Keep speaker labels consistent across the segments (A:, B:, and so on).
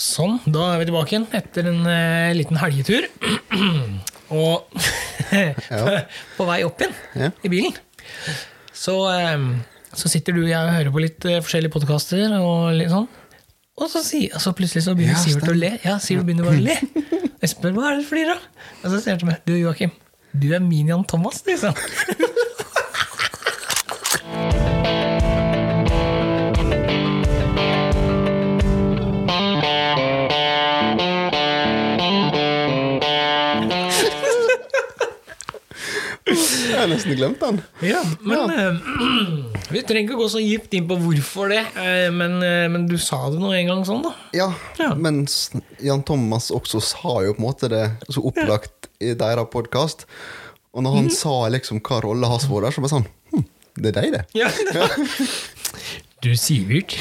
A: Sånn, da er vi tilbake igjen etter en eh, liten helgetur. og på vei opp igjen
B: Ja.
A: i bilen så, eh, så sitter du og jeg og hører på litt eh, forskjellige podkaster. Og litt sånn. Og så, si, og så plutselig så begynner
B: Ja,
A: Sivert å
B: stemmer.
A: le. Ja, Sivert begynner bare å le. Og Jeg spør hva er det du flirer av. Og så sier han til meg du Joakim, du er min Jan Thomas. liksom.
B: Jeg har nesten glemt den.
A: Ja, men eh, Vi trenger ikke gå så dypt inn på hvorfor det, eh, men, eh, men du sa det nå en gang sånn, da.
B: Ja,
A: Ja.
B: men s- Jan Thomas også sa jo på en måte det så opplagt i deres podkast. Og når
A: Mhm.
B: han sa liksom hva rolla hans var der, så bare sånn hm, Det er deg, det.
A: Ja. Du, Sivert.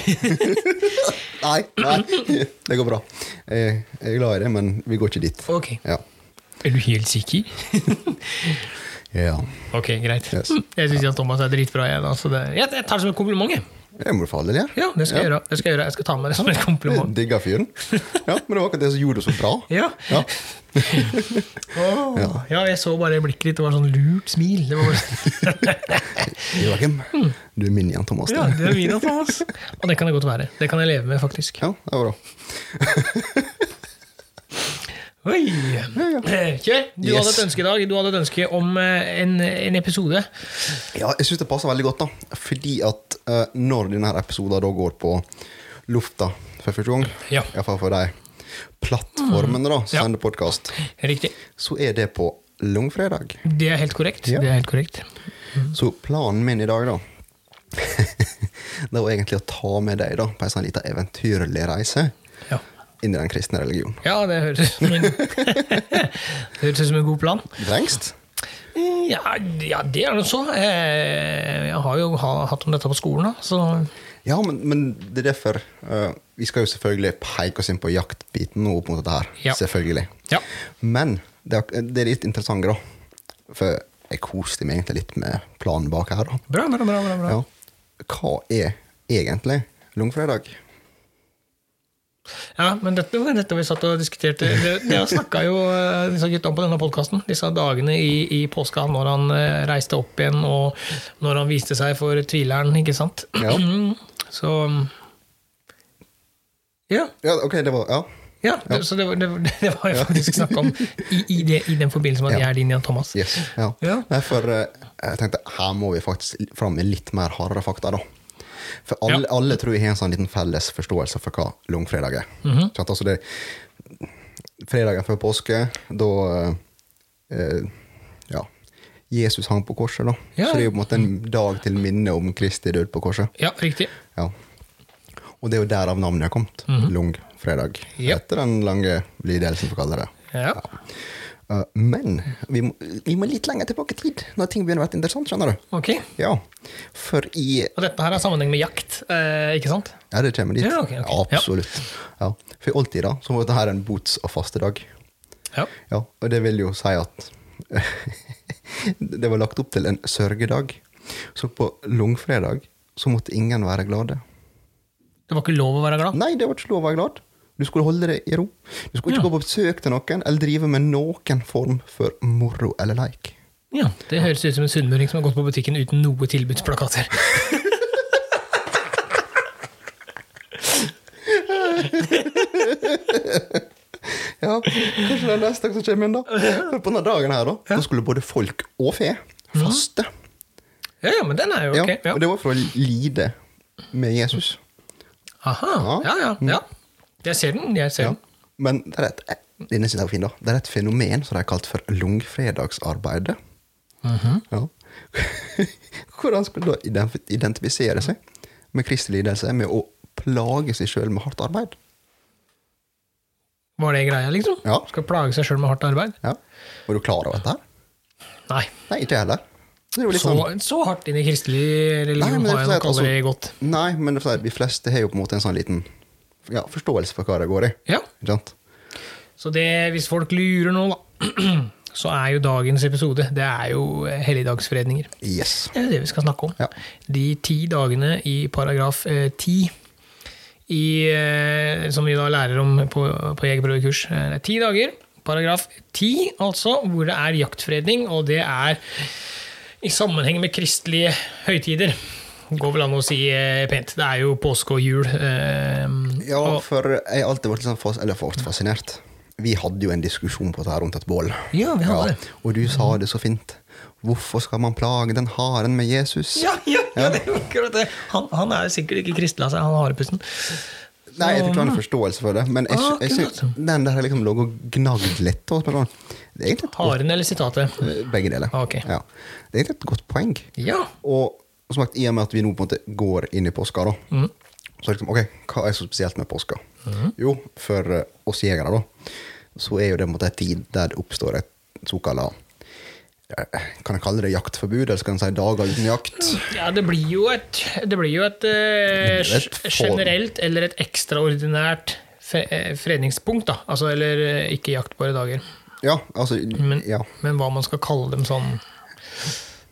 B: Nei, nei, det går bra. Jeg, jeg er glad i det, men vi går ikke dit.
A: Ok,
B: Ja.
A: er du helt sikker?
B: ja.
A: ok, greit.
B: Yes.
A: Jeg syns Jan Thomas er dritbra, jeg. Da, så det, jeg, jeg tar det som en kompliment. jeg.
B: Det må du falle ned.
A: Ja, det skal jeg gjøre. Det skal jeg gjøre. Jeg skal ta med det som en kompliment.
B: Digga fyren. Ja, men det var akkurat det som gjorde det så bra.
A: Ja.
B: Ja.
A: Åh, ja, jeg så bare blikket ditt, det var sånn lurt smil. Det var bare,
B: Joakim, du er min Jan Thomas.
A: Mm. ja,
B: du.
A: det er min Jan Thomas. Og det kan det godt være. Det kan jeg leve med, faktisk.
B: ja, det var bra.
A: Oi! Eh, Kjør! Du
B: Yes.
A: hadde et ønske i dag. Du hadde et ønske om eh, en, en episode.
B: Ja, jeg syns det passer veldig godt, da. Fordi at eh, når denne her episoden da går på lufta for første gang,
A: Ja. Mm.
B: iallfall for de plattformene da, som
A: Ja.
B: sender podkast,
A: Riktig.
B: så er det på langfredag.
A: Det er helt korrekt.
B: Ja.
A: Det er helt korrekt. Mm.
B: Så planen min i dag, da Det var egentlig å ta med deg da på en sånn liten eventyrlig reise
A: Ja.
B: inn i den kristne religionen.
A: ja, det høres ut som en, det høres ut som en god plan.
B: Drengst?
A: Mm, Ja, ja det er det så. Eh, Jeg har jo ha, hatt om dette på skolen, da, så
B: Ja, men, men det er derfor eh, Vi skal jo selvfølgelig peke oss inn på jaktbiten nå opp mot dette her.
A: Ja.
B: Selvfølgelig.
A: ja.
B: Men det er, det er litt interessant, da. For jeg koste meg egentlig litt med planen bak her, da.
A: Bra, bra, bra. bra, bra.
B: Ja. Hva er egentlig langfredag?
A: Ja, men dette var dette vi satt og diskuterte. Det, det snakka jo eh, disse gutta om på denne podkasten. Disse dagene i, i påska når han eh, reiste opp igjen, og når han viste seg for tvileren, ikke sant? Mm,
B: Ja.
A: Så Ja.
B: Ja, ok, det var Ja.
A: ja, det, Så det, var- det, var- det var jo faktisk snakk om i, i, det, i den forbindelse med at
B: Ja.
A: jeg er din Jan Thomas.
B: Yes. Ja.
A: Ja.
B: Nei, for eh, jeg tenkte her må vi faktisk fram med litt mer hardere fakta, da. For alle,
A: Ja.
B: alle tror jeg har en sånn liten felles forståelse for hva langfredag er.
A: Mhm.
B: Sant? altså det, fredagen før påske, da eh, eh, Ja. Jesus hang på korset, da.
A: Ja.
B: Så det er jo på en måte en dag til minne om Kristi død på korset.
A: Ja, riktig.
B: Ja. Og det er jo derav navnet har kommet. Langfredag.
A: Mhm. Ja.
B: Etter den lange lidelsen, for å kalle det det.
A: Ja.
B: Eh, Men vi må, vi må litt lenger tilbake i tid, når ting begynner å være interessant, skjønner du.
A: Ok.
B: Ja, for i
A: Og dette her har sammenheng med jakt, eh, ikke sant?
B: Ja, det kommer dit.
A: Ja, ok, ok. Ja.
B: Absolutt. Ja. For i oldtida så var dette her en bots- og fastedag.
A: Ja.
B: Ja, og det vil jo si at det var lagt opp til en sørgedag. Så på langfredag så måtte ingen være glade.
A: Det var ikke lov å være glad?
B: Nei, det var ikke lov å være glad. Du skulle holde det i ro. Du skulle ikke
A: Ja.
B: gå på besøk til noen eller drive med noen form for moro eller leik.
A: Ja, Det høres ut som en sunnmøring som har gått på butikken uten noe tilbudsplakater.
B: Ja, kanskje det er neste dag som kommer inn, da. For på denne dagen her, da, så skulle både folk og fe faste.
A: Ja, ja, men den er jo
B: Ja,
A: Mhm. ok. Ja.
B: Og det var for å lide med Jesus.
A: Aha, ja, ja, ja. Jeg ser den. jeg ser
B: Mm. Ja.
A: den.
B: Men det er, et, denne synes jeg var fin, da. det er et fenomen som de har kalt for langfredagsarbeidet.
A: Mhm.
B: ja. Hvordan skulle da ident- identifisere seg med kristelig lidelse med å plage seg sjøl med hardt arbeid?
A: Var det greia, liksom?
B: Ja.
A: Skal plage seg sjøl med hardt arbeid?
B: Ja. Var du klar over dette? her?
A: Nei.
B: Nei, ikke jeg heller. Det er jo litt
A: Så,
B: sånn-
A: så hardt inn i kristelig
B: Nei,
A: religion
B: men det er
A: har jeg nok
B: fordi at,
A: aldri
B: altså-
A: gått.
B: Nei, men det er fordi at de fleste har jo på en måte en sånn liten ja, forståelse for hva det går i.
A: Ja,
B: Ikke sant?
A: Så det, hvis folk lurer nå, da, så er jo dagens episode det er jo eh, helligdagsfredninger.
B: Yes.
A: Det er det vi skal snakke om.
B: Ja.
A: De ti dagene i paragraf eh, ti i, eh, som vi da lærer om på, på jegerprøvekurs. Eh, Det er ti dager, paragraf ti altså, hvor det er jaktfredning, og det er i sammenheng med kristelige høytider. Går vel an å si eh, pent. Det er jo påske og jul. eh,
B: Ja, for jeg har alltid vært litt sånn fas, eller vært fascinert. Vi hadde jo en diskusjon på det her rundt et bål.
A: Ja, vi hadde det.
B: Og du sa det så fint. Hvorfor skal man plage den haren med Jesus?
A: Ja, ja, ja, det er jo akkurat det. Han, han er sikkert ikke kristelig av seg, han harepussen.
B: Nei, jeg fikk ikke en forståelse for det, men jeg, sy- jeg, sy-
A: Akkurat.
B: den der har liksom ligget og gnagd litt. Og sånn. det er egentlig et godt, eh,
A: Haren eller sitatet?
B: begge deler.
A: Ah, Ok.
B: Ja. Det er egentlig et godt poeng.
A: Ja.
B: Og som sagt, i og med at vi nå på en måte går inn i påska, da,
A: Mm.
B: så er det liksom, ok, hva er så spesielt med påska? Jo, for eh, oss jegere, da, så er jo det på en måte en tid der det oppstår et såkalla eh, Kan jeg kalle det jaktforbud, eller skal en si dager uten jakt?
A: Ja, det blir jo et, det blir jo et, eh,
B: Det blir et
A: sj- generelt eller et ekstraordinært fe- eh, fredningspunkt, da. Altså, eller eh, ikke jaktbare dager.
B: Ja, altså
A: Men,
B: ja.
A: men hva man skal kalle dem sånn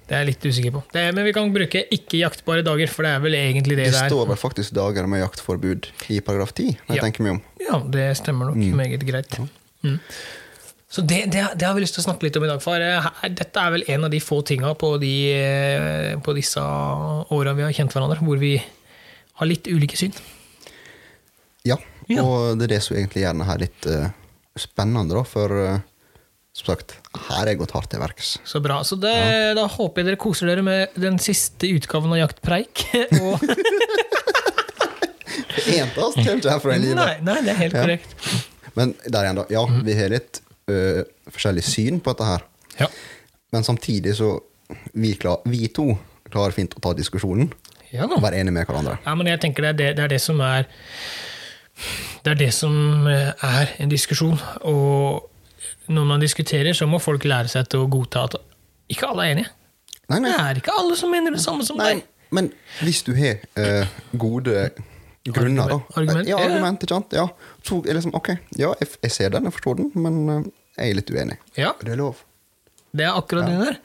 A: Det er jeg litt usikker på. Det er, men vi kan bruke ikke-jaktbare dager, for det er vel egentlig det
B: Det
A: det er.
B: står vel faktisk dager med jaktforbud i paragraf 10, når jeg
A: Ja.
B: tenker meg om.
A: Ja, det stemmer nok meget greit. Mm. Så det, det, det har vi lyst til å snakke litt om i dag, for eh, her- dette er vel en av de få tinga på, de, eh, på disse åra vi har kjent hverandre, hvor vi har litt ulike syn.
B: Ja,
A: Ja.
B: og det er det som egentlig gjør denne her litt eh, spennende, da, for eh, som sagt, her er jeg gått hardt til verks.
A: Så bra. Så det, da håper jeg dere koser dere med den siste utgaven av Jaktpreik. Og,
B: En av oss kommer ikke herfra i livet.
A: nei, nei, det er helt
B: Ja.
A: korrekt.
B: Men der igjen, da. Ja,
A: Mhm.
B: vi har litt ø, forskjellig syn på dette her.
A: Ja.
B: Men samtidig så vi, klar, vi to klarer fint å ta diskusjonen
A: Ja da.
B: og være enige med hverandre.
A: Ja, men jeg tenker det er det, det, er det som er Det er det som eh, er en diskusjon. Og når man diskuterer, så må folk lære seg til å godta at ikke alle er enige.
B: Nei,
A: Det
B: nei.
A: er ikke alle som mener det samme som
B: nei
A: deg.
B: men hvis du har ø, gode grunner, da
A: Argument.
B: Ja,
A: Ja.
B: argument, ikke sant? Ja. Så er det liksom, ok, ja, jeg, jeg ser den, jeg forstår den, men ø, jeg er litt uenig.
A: Ja,
B: Og Det er lov.
A: det er akkurat det der.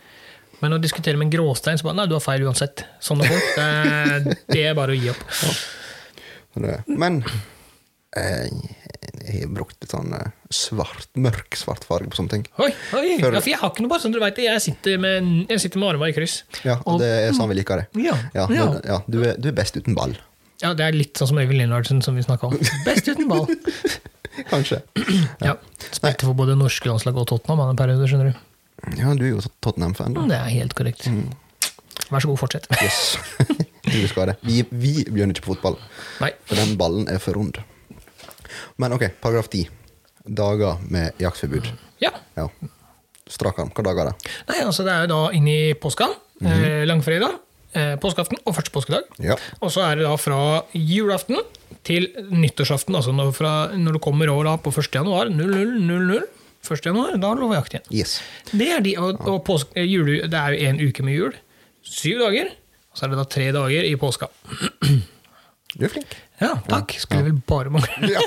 A: Men å diskutere med en gråstein, så bare Nei, du har feil uansett. Sånne folk. Det er, det er bare å gi opp.
B: Så det- Men eh, jeg har brukt litt sånn ø, svart, mørk svart farge på sånne ting.
A: Oi, oi.
B: For-
A: Ja, for jeg har ikke noe bare, som dere vet det. Jeg sitter med, jeg sitter med armene i kryss.
B: Ja, og det er sånn vi liker det.
A: Ja,
B: Ja,
A: ja.
B: men, ja du, er, du er best uten ball.
A: ja, det er litt sånn som Øyvind Lennartsen, som vi snakka om. Best uten ball.
B: Kanskje.
A: Ja. Spilte for både norske landslag og Tottenham han en periode, skjønner du.
B: Ja, du er jo Tottenham-fan, da.
A: Det er helt korrekt. Vær så god, fortsett.
B: Yes. du skal ha det. Vi, vi begynner ikke på fotball,
A: Nei.
B: for den ballen er for rund. Men ok, paragraf 10. Dager med jaktforbud.
A: Ja.
B: Ja. Strak arm. Hva dager er det?
A: Nei, altså det er jo da inn i påska, eh, langfredag, eh, påskeaften og første påskedag.
B: Ja.
A: Og så er det da fra julaften til nyttårsaften, altså når, fra, når du kommer over da på 1. januar, 0000, 1. januar, da lover jakt igjen.
B: Yes.
A: Det er de, og, og påske, eh, jule, det er jo en uke med jul, syv dager, og så er det da tre dager i påska.
B: Du er flink.
A: Ja, takk. Skulle vel bare mangle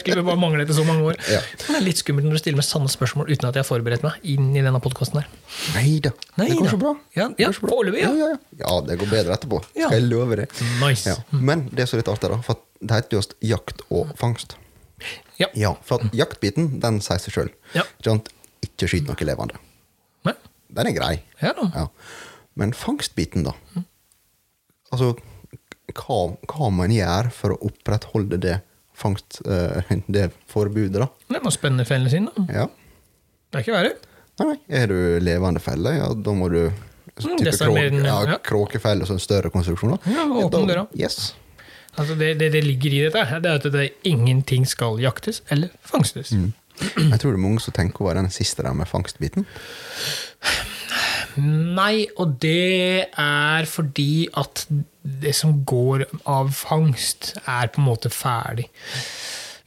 A: Skulle vel bare mangle etter så mange år.
B: Ja.
A: Men Det er litt skummelt når du stiller med sanne spørsmål uten at jeg har forberedt meg. inn i denne podcasten her.
B: Nei da. Det
A: Neida.
B: går så bra.
A: Ja, ja, foreløpig, ja.
B: Ja, ja, ja. ja, det går bedre etterpå.
A: Ja. Mm.
B: Skal jeg love det.
A: Nice.
B: Ja. Men det er så litt artig, da, for at det heter jo just jakt og fangst.
A: Ja.
B: Ja, for at jaktbiten, den sier seg sjøl.
A: Ja.
B: Ikke skyt noe levende.
A: Nei?
B: Den er grei.
A: Ja da.
B: Ja. Men fangstbiten, da?
A: Mm.
B: Altså, hva, hva man gjør for å opprettholde det fangst... eh, det forbudet, da?
A: Det var spennende fellene sin, da.
B: Ja.
A: Det er ikke verre.
B: Nei, nei. Er du levende felle, ja, da må du så
A: Mm,
B: type
A: det stemmer,
B: krå- ja,
A: ja.
B: Kråkefelle og sånn større konstruksjoner.
A: Ja, åpne
B: da-
A: døra.
B: Yes.
A: Altså det, det, det ligger i dette, her, det er at det ingenting skal jaktes eller fangstes.
B: Jeg tror det er mange som tenker over den siste der med fangstbiten.
A: Nei, og det er fordi at det som går av fangst, er på en måte ferdig.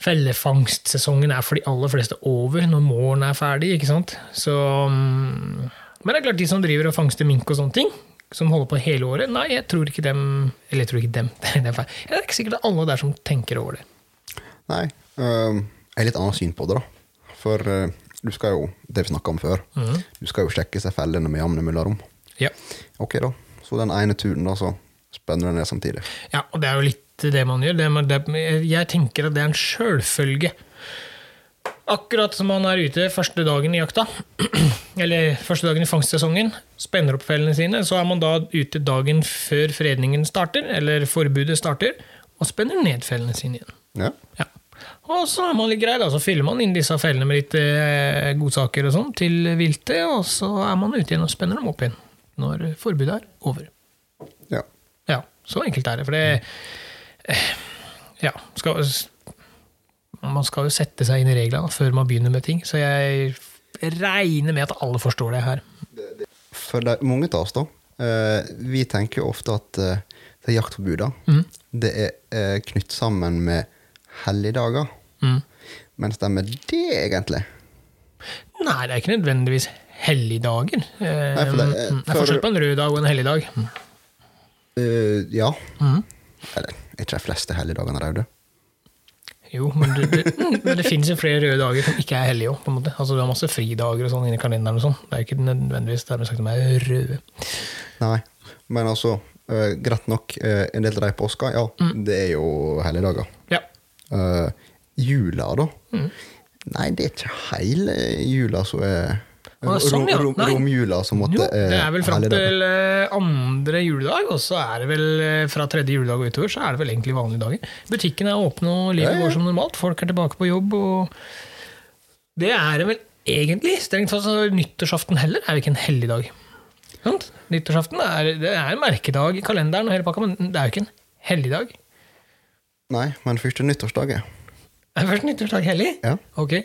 A: Fellefangstsesongen er for de aller fleste over når våren er ferdig. ikke sant? Så, mm, men det er klart, de som driver og fangster mink og sånne ting, som holder på hele året Nei, jeg tror ikke dem Eller jeg tror ikke dem. Det er feil. Det er ikke sikkert det er alle der som tenker over det.
B: Nei. øhm, jeg har litt annet syn på det, da. For øh, du skal jo, det vi snakka om før, du skal jo sjekke seg fellene med jevne mellomrom.
A: Ja.
B: Ok, da. Så den ene turen, da, så spenner du ned samtidig.
A: ja, og det er jo litt vite det man gjør. Det, man- det, jeg tenker at det er en sjølfølge. Akkurat som man er ute første dagen i jakta, eller første dagen i fangstsesongen, spenner opp fellene sine, så er man da ute dagen før fredningen starter, eller forbudet starter, og spenner ned fellene sine igjen.
B: Ja.
A: Ja. Og så er man litt grei, da. Så fyller man inn disse fellene med litt eh, godsaker og sånn til viltet, og så er man ute igjen og spenner dem opp igjen når forbudet er over.
B: ja.
A: Ja, så enkelt er det. For det eh, Ja, skal, man skal jo sette seg inn i reglene da, før man begynner med ting, så jeg regner med at alle forstår det her.
B: For de, mange av oss, da, eh, vi tenker jo ofte at eh, det er jaktforbudene. Det er eh, knytt sammen med helligdager.
A: Mm.
B: Men stemmer det egentlig?
A: Nei, det er ikke nødvendigvis helligdager. Eh,
B: Nei, for det-
A: mm,
B: eh,
A: det er
B: før-
A: forskjell på en rød dag og en helligdag. Mm.
B: Eh, ja. Eller er ikke de fleste helligdagene røde?
A: Jo, men det, det, mm, men det finnes jo flere røde dager som ikke er hellige òg, på en måte. Altså, du har masse fridager og sånn inni kalenderen og sånn. Det er ikke nødvendigvis dermed sagt at de er røde.
B: Nei. Men altså, eh, greit nok, eh, en del av de påska, ja,
A: Mm.
B: det er jo helligdager.
A: Ja.
B: Eh, jula, da?
A: Mm.
B: Nei, det er ikke hele jula som er
A: Å, det er sånn, ja.
B: rom-
A: Nei.
B: Romjula som måtte
A: Jo, det er vel fram
B: helligdager.
A: til eh, andre juledag, og så er det vel eh, fra tredje juledag og utover, så er det vel egentlig vanlige dager. Butikkene er åpne, og livet
B: Ja, ja.
A: går som normalt. Folk er tilbake på jobb, og Det er det vel egentlig. Strengt tatt, så nyttårsaften heller er jo ikke en hellig dag. Sant? Nyttårsaften er, det er en merkedag i kalenderen, og hele pakka, men det er jo ikke en hellig dag.
B: Nei, men første nyttårsdag, ja.
A: Er først nyttårsdag hellig?
B: Ja.
A: Ok.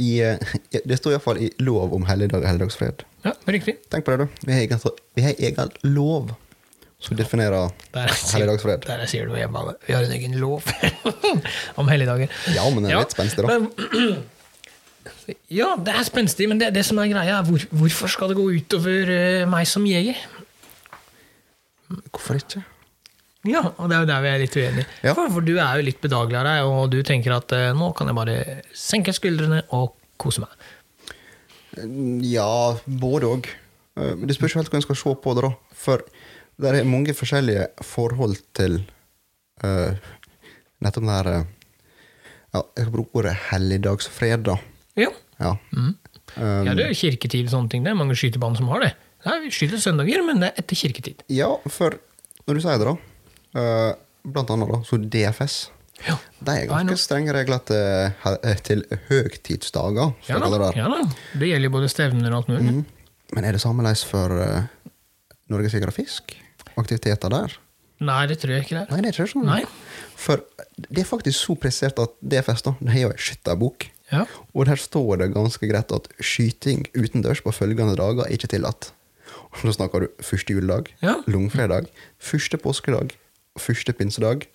B: I, eh, det står iallfall i lov om helligdag og helligdagsfred.
A: Ja, riktig.
B: Tenk på det, da. Vi har egen, vi har egen lov som definerer
A: Der sier,
B: helligdagsfred.
A: der sier du hjemme av det. Vi har en egen lov om helligdager.
B: Ja, men det er litt spenstig, da.
A: Men- ja, det er spenstig, men det, det som er greia, er hvor, hvorfor skal det gå utover eh, meg som jeger?
B: Hvorfor ikke?
A: Ja, og det er jo der vi er litt uenige.
B: Ja.
A: For, for du er jo litt bedagelig av deg, og du tenker at eh, nå kan jeg bare senke skuldrene og kose meg.
B: Ja, både òg. Det spørs jo helt hva en skal se på det, da. For det er mange forskjellige forhold til eh, nettopp den her eh, Ja, jeg skal bruke ordet helligdagsfred, da.
A: Ja,
B: Ja. Eh,
A: ja det er jo kirketid og sånne ting. Det er mange skytebaner som har det. Nei, vi skyter søndager, men det er etter kirketid.
B: ja, for når du sier det, da eh, Blant annet, da, så DFS.
A: Ja,
B: De er
A: I know.
B: ganske strenge regler til, he- eh, til høgtidsdager. skal
A: ja, da,
B: jeg kalle det der.
A: ja da. Det gjelder jo både stevner og alt mulig.
B: Mm. Men er det sammenleis for eh, Norges Jeger og Fisk? Aktiviteter der?
A: Nei, det tror jeg ikke det er.
B: Nei, det er ikke sånn.
A: Nei.
B: For det er faktisk så presisert at DFS da, det er jo en skytterbok.
A: Ja.
B: Og der står det ganske greit at skyting utendørs på følgende dager er ikke tillatt. Og da snakker du første juledag,
A: Ja.
B: langfredag, første påskedag, første pinsedag.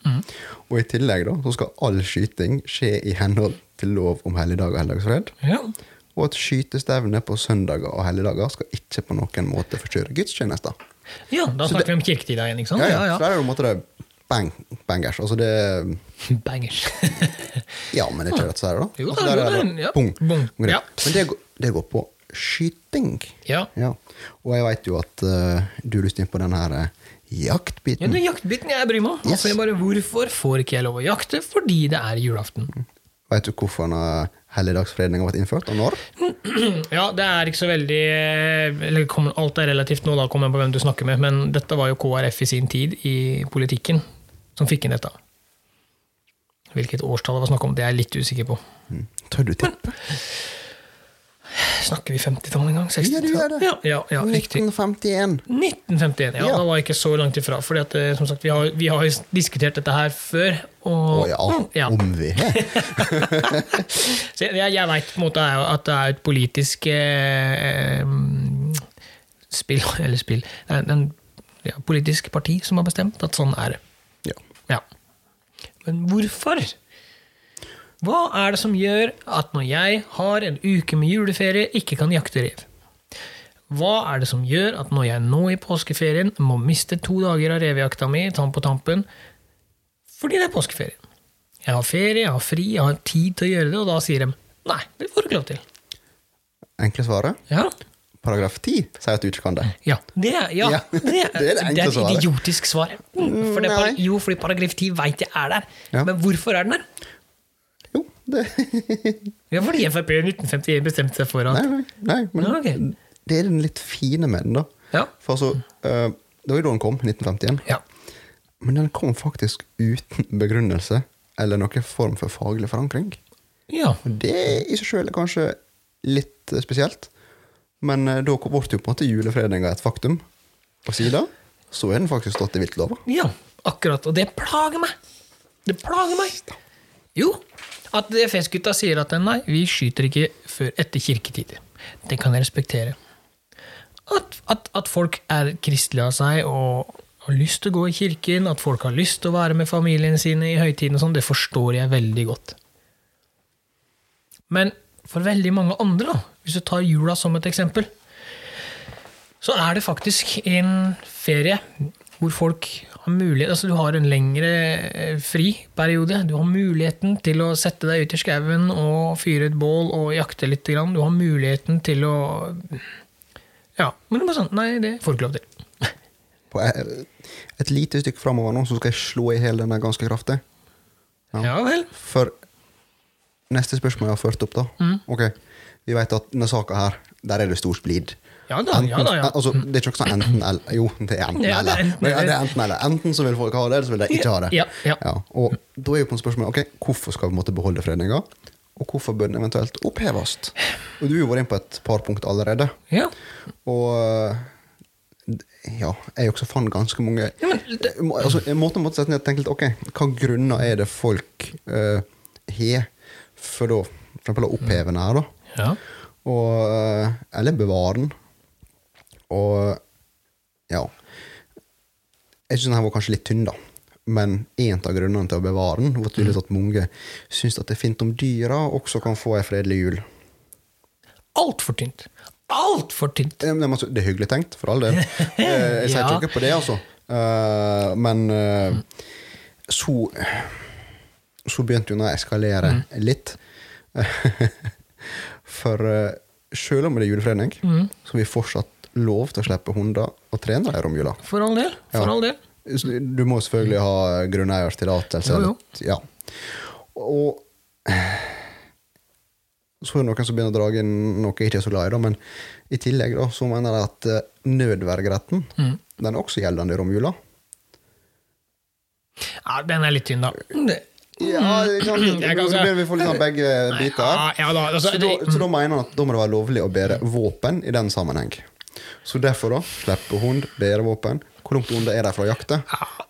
B: Og i tillegg da, så skal all skyting skje i henhold til lov om helligdag og helligdagsfred.
A: Ja.
B: Og at skytestevne på søndager og helligdager skal ikke på noen måte forstyrre gudstjenester.
A: ja, da snakker vi om kirketida igjen, ikke sant?
B: Ja, ja. Så der er det på en måte det bang, bangers. Altså det
A: Bangers.
B: Ja, men det er ikke rett å si det, da.
A: Jo da,
B: Altså, der
A: jo da,
B: er det
A: ja.
B: Bong.
A: Bong,
B: Greit.
A: ja.
B: Men det, går- det går på skyting.
A: Ja.
B: Ja. Og jeg veit jo at eh, du lyster inn på den her eh,
A: Ja,
B: jaktbiten.
A: det er jaktbiten jeg bryr meg om.
B: Yes.
A: Altså, jeg bare, hvorfor får ikke jeg lov å jakte? Fordi det er julaften.
B: Veit du hvorfor denne helligdagsfredningen ble innført, og når?
A: Ja, det er ikke så veldig eller kommer- Alt er relativt nå, da kommer jeg på hvem du snakker med, men dette var jo KrF i sin tid, i politikken, som fikk inn dette. Hvilket årstall det var snakk om, det er jeg litt usikker på.
B: Mm. Tør du tippe?
A: Snakker vi 50-tallet en gang? 60-tallet?
B: Ja, det er det.
A: Ja, ja, ja, riktig.
B: 1951.
A: 1951, ja.
B: Ja.
A: Da var jeg ikke så langt ifra. Fordi at, eh, som sagt, vi har, vi har jo diskutert dette her før. Og,
B: Å ja,
A: Ja.
B: om vi har.
A: Så jeg jeg veit på en måte er jo at det er et politisk eh, mm, spill Eller spill Det er en ja, politisk parti som har bestemt at sånn er det.
B: Ja.
A: Ja. Men hvorfor? Hva er det som gjør at når jeg har en uke med juleferie, ikke kan jakte rev? Hva er det som gjør at når jeg nå i påskeferien må miste to dager av revejakta mi, tann på tampen, fordi det er påskeferie? Jeg har ferie, jeg har fri, jeg har tid til å gjøre det, og da sier de nei, det får du ikke lov til.
B: Enkle svaret?
A: Ja,
B: Paragraf 10 sier at du ikke kan det.
A: Ja, det er, ja,
B: Ja,
A: Det,
B: det er det
A: er,
B: enkle
A: det er et
B: svaret.
A: idiotisk svar. Mm, For det er par,
B: nei.
A: jo, fordi paragraf 10 veit jeg er der.
B: Ja.
A: Men hvorfor er den der?
B: Jo, det
A: Ja, fordi Frp i 1951 bestemte seg for at
B: Nei, nei, nei men
A: Ja, ok.
B: det er den litt fine med den, da.
A: Ja.
B: For altså, eh, det var jo da den kom, 1951.
A: Ja.
B: Men den kom faktisk uten begrunnelse eller noen form for faglig forankring.
A: ja.
B: Og Det i seg sjøl er kanskje litt eh, spesielt. Men eh, da ble jo på en måte julefredninga et faktum. Og siden så er den faktisk stått i viltlova.
A: Ja, akkurat. Og det plager meg. Det plager meg. Jo, at DFS-gutta sier at nei, vi skyter ikke før etter kirketider. Det kan jeg respektere. At, at, at folk er kristelige av seg og har lyst til å gå i kirken, at folk har lyst til å være med familien sine i høytiden og sånn, det forstår jeg veldig godt. Men for veldig mange andre, da, hvis du tar jula som et eksempel, så er det faktisk en ferie hvor folk har mulighet Altså, du har en lengre eh, friperiode. Du har muligheten til å sette deg ut i skauen og fyre et bål og jakte litt. Grann. Du har muligheten til å Ja. Men det er bare sånn Nei, det får du ikke lov til.
B: På eh, et lite stykke framover nå så skal jeg slå i hjel denne ganske kraftig. Ja.
A: Ja vel.
B: For neste spørsmål jeg har ført opp, da. Ok, Vi vet at denne saka her, der er det stor splid.
A: Ja da, ja da, ja.
B: Altså, det er ikke sånn enten eller. Jo, det er enten
A: Ja, det er
B: eller.
A: enten
B: Men ja,
A: eller.
B: det er enten eller. Enten så vil folk ha det, eller så vil de ikke ha det.
A: Ja, ja.
B: Og da er jo på en spørsmål ok, hvorfor skal vi måtte beholde fredninga, og hvorfor bør den eventuelt oppheves? Og du har jo vært inne på et par punkt allerede.
A: Ja.
B: Og eh, ja, jeg også fant ganske mange
A: Ja, men det-
B: Må- altså, Jeg måtte, måtte sette ned og tenke litt ok, hva grunner er det folk eh, har for da, for eksempel å oppheve den her, da?
A: ja.
B: Og, eh, eller bevare den. Og ja Jeg syns den her var kanskje litt tynn, da. Men en av grunnene til å bevare den var tydeligvis at mange syns at det er fint om dyra også kan få ei fredelig jul.
A: Altfor tynt. Altfor tynt.
B: Eh, men altså, Det er hyggelig tenkt, for all del. Eh, Jeg
A: Ja.
B: sier ikke noe på det, altså. Eh, Men eh, så Så begynte jo den å eskalere litt. For eh, selv om det er julefredning, så har vi fortsatt lov til å slippe hunder og trenere i romjula.
A: For all del. For
B: Ja.
A: all del.
B: Så Du må selvfølgelig ha grunneiers tillatelse.
A: Jo, jo.
B: eller- Ja. Og så er det noen som begynner å dra inn noe jeg ikke er så glad i, da, men i tillegg da, så mener jeg at eh, nødvergeretten
A: Mm.
B: den er også gjeldende i romjula.
A: Ja, den er litt tynn, da. Det-
B: Ja, det kan,
A: Mm. Jeg kan
B: da
A: se-
B: begynner vi å få litt av begge biter.
A: Ja, ja da, altså,
B: så, da,
A: det-
B: så da mener han at da må det være lovlig å bære våpen i den sammenheng. Så derfor, da, slippe hund, bære våpen. Hvor langt unna er de fra å jakte?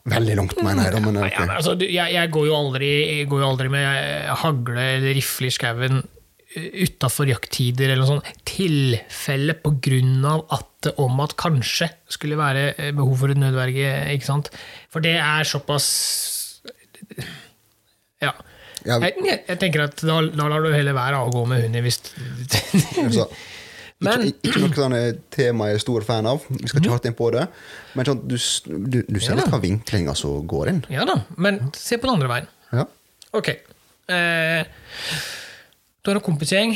B: Veldig langt, mener jeg. Da, men,
A: Nei, ja, men
B: ok.
A: altså, du, jeg, jeg, går jo aldri, jeg går jo aldri med eh, hagle eller rifle i skauen eh, utafor jakttider eller noe sånt. Tilfelle på grunn av at det om at kanskje skulle være eh, behov for et nødverge. ikke sant? For det er såpass Ja.
B: Ja, vi-
A: Jeg, jeg, jeg tenker at da, da lar du heller være å gå med hunden hvis
B: Altså,
A: Men- Mhm.
B: ikke, ikke noe sånn eh, tema jeg er stor fan av. Vi skal ikke hardt inn på det. Men sånn, du, s- du, du ser litt hva vinklinga som går inn.
A: Ja da, men se på den andre veien.
B: Ja.
A: Ok. Eh, du har en kompisgjeng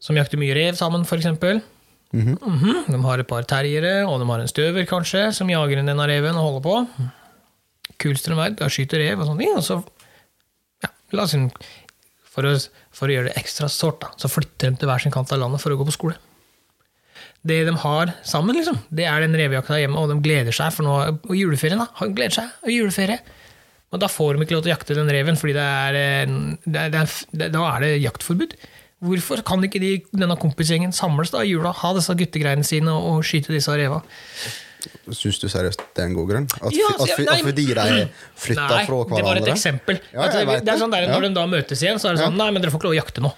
A: som jakter mye rev sammen, f.eks. Mhm, De har et par terriere, og de har en støver, kanskje, som jager inn denne reven og holder på. Kuleste de vet, da skyter rev og sånne ting. Og så, ja, la oss si- for, å, for å gjøre det ekstra sårt, da, så flytter de til hver sin kant av landet for å gå på skole. Det de har sammen, liksom, det er den revejakta hjemme, og de gleder seg. For nå, og juleferien, da. Han gleder seg. Og juleferie. Men da får de ikke lov til å jakte den reven, fordi det er, eh, det er, det er, det, da er det jaktforbud. Hvorfor kan ikke de, denne kompisgjengen samles da i jula, ha disse guttegreiene sine og, og skyte disse reva?
B: Syns du seriøst det er en god grunn? At,
A: Ja,
B: at,
A: altså,
B: at,
A: nei,
B: at fordi de er flytta
A: Nei,
B: fra hverandre?
A: det var et eksempel.
B: Ja,
A: At
B: jeg
A: det,
B: vet
A: det er sånn der,
B: det.
A: Når
B: Ja.
A: de da møtes igjen, så er det sånn Nei, men dere får ikke lov å jakte nå.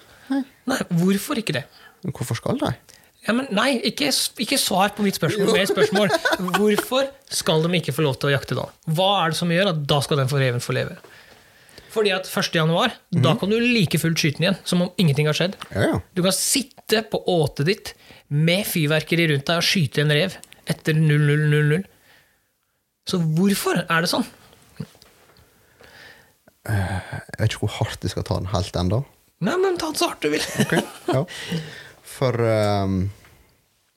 A: Nei, Hvorfor ikke det?
B: Hvorfor skal de?
A: Ja, men nei, ikke, ikke svar på mitt spørsmål med spørsmål. Hvorfor skal de ikke få lov til å jakte da? Hva er det som gjør at da skal den reven få leve? Fordi at 1. januar, da
B: Mhm.
A: kan du like fullt skyte den igjen, som om ingenting har skjedd.
B: Ja, ja.
A: Du kan sitte på åtet ditt med fyrverkeri rundt deg og skyte en rev etter 0000. Så hvorfor er det sånn?
B: Jeg vet ikke hvor hardt de skal ta den helt ennå.
A: Nei, men ta det så hardt du vil.
B: Ja. For ehm,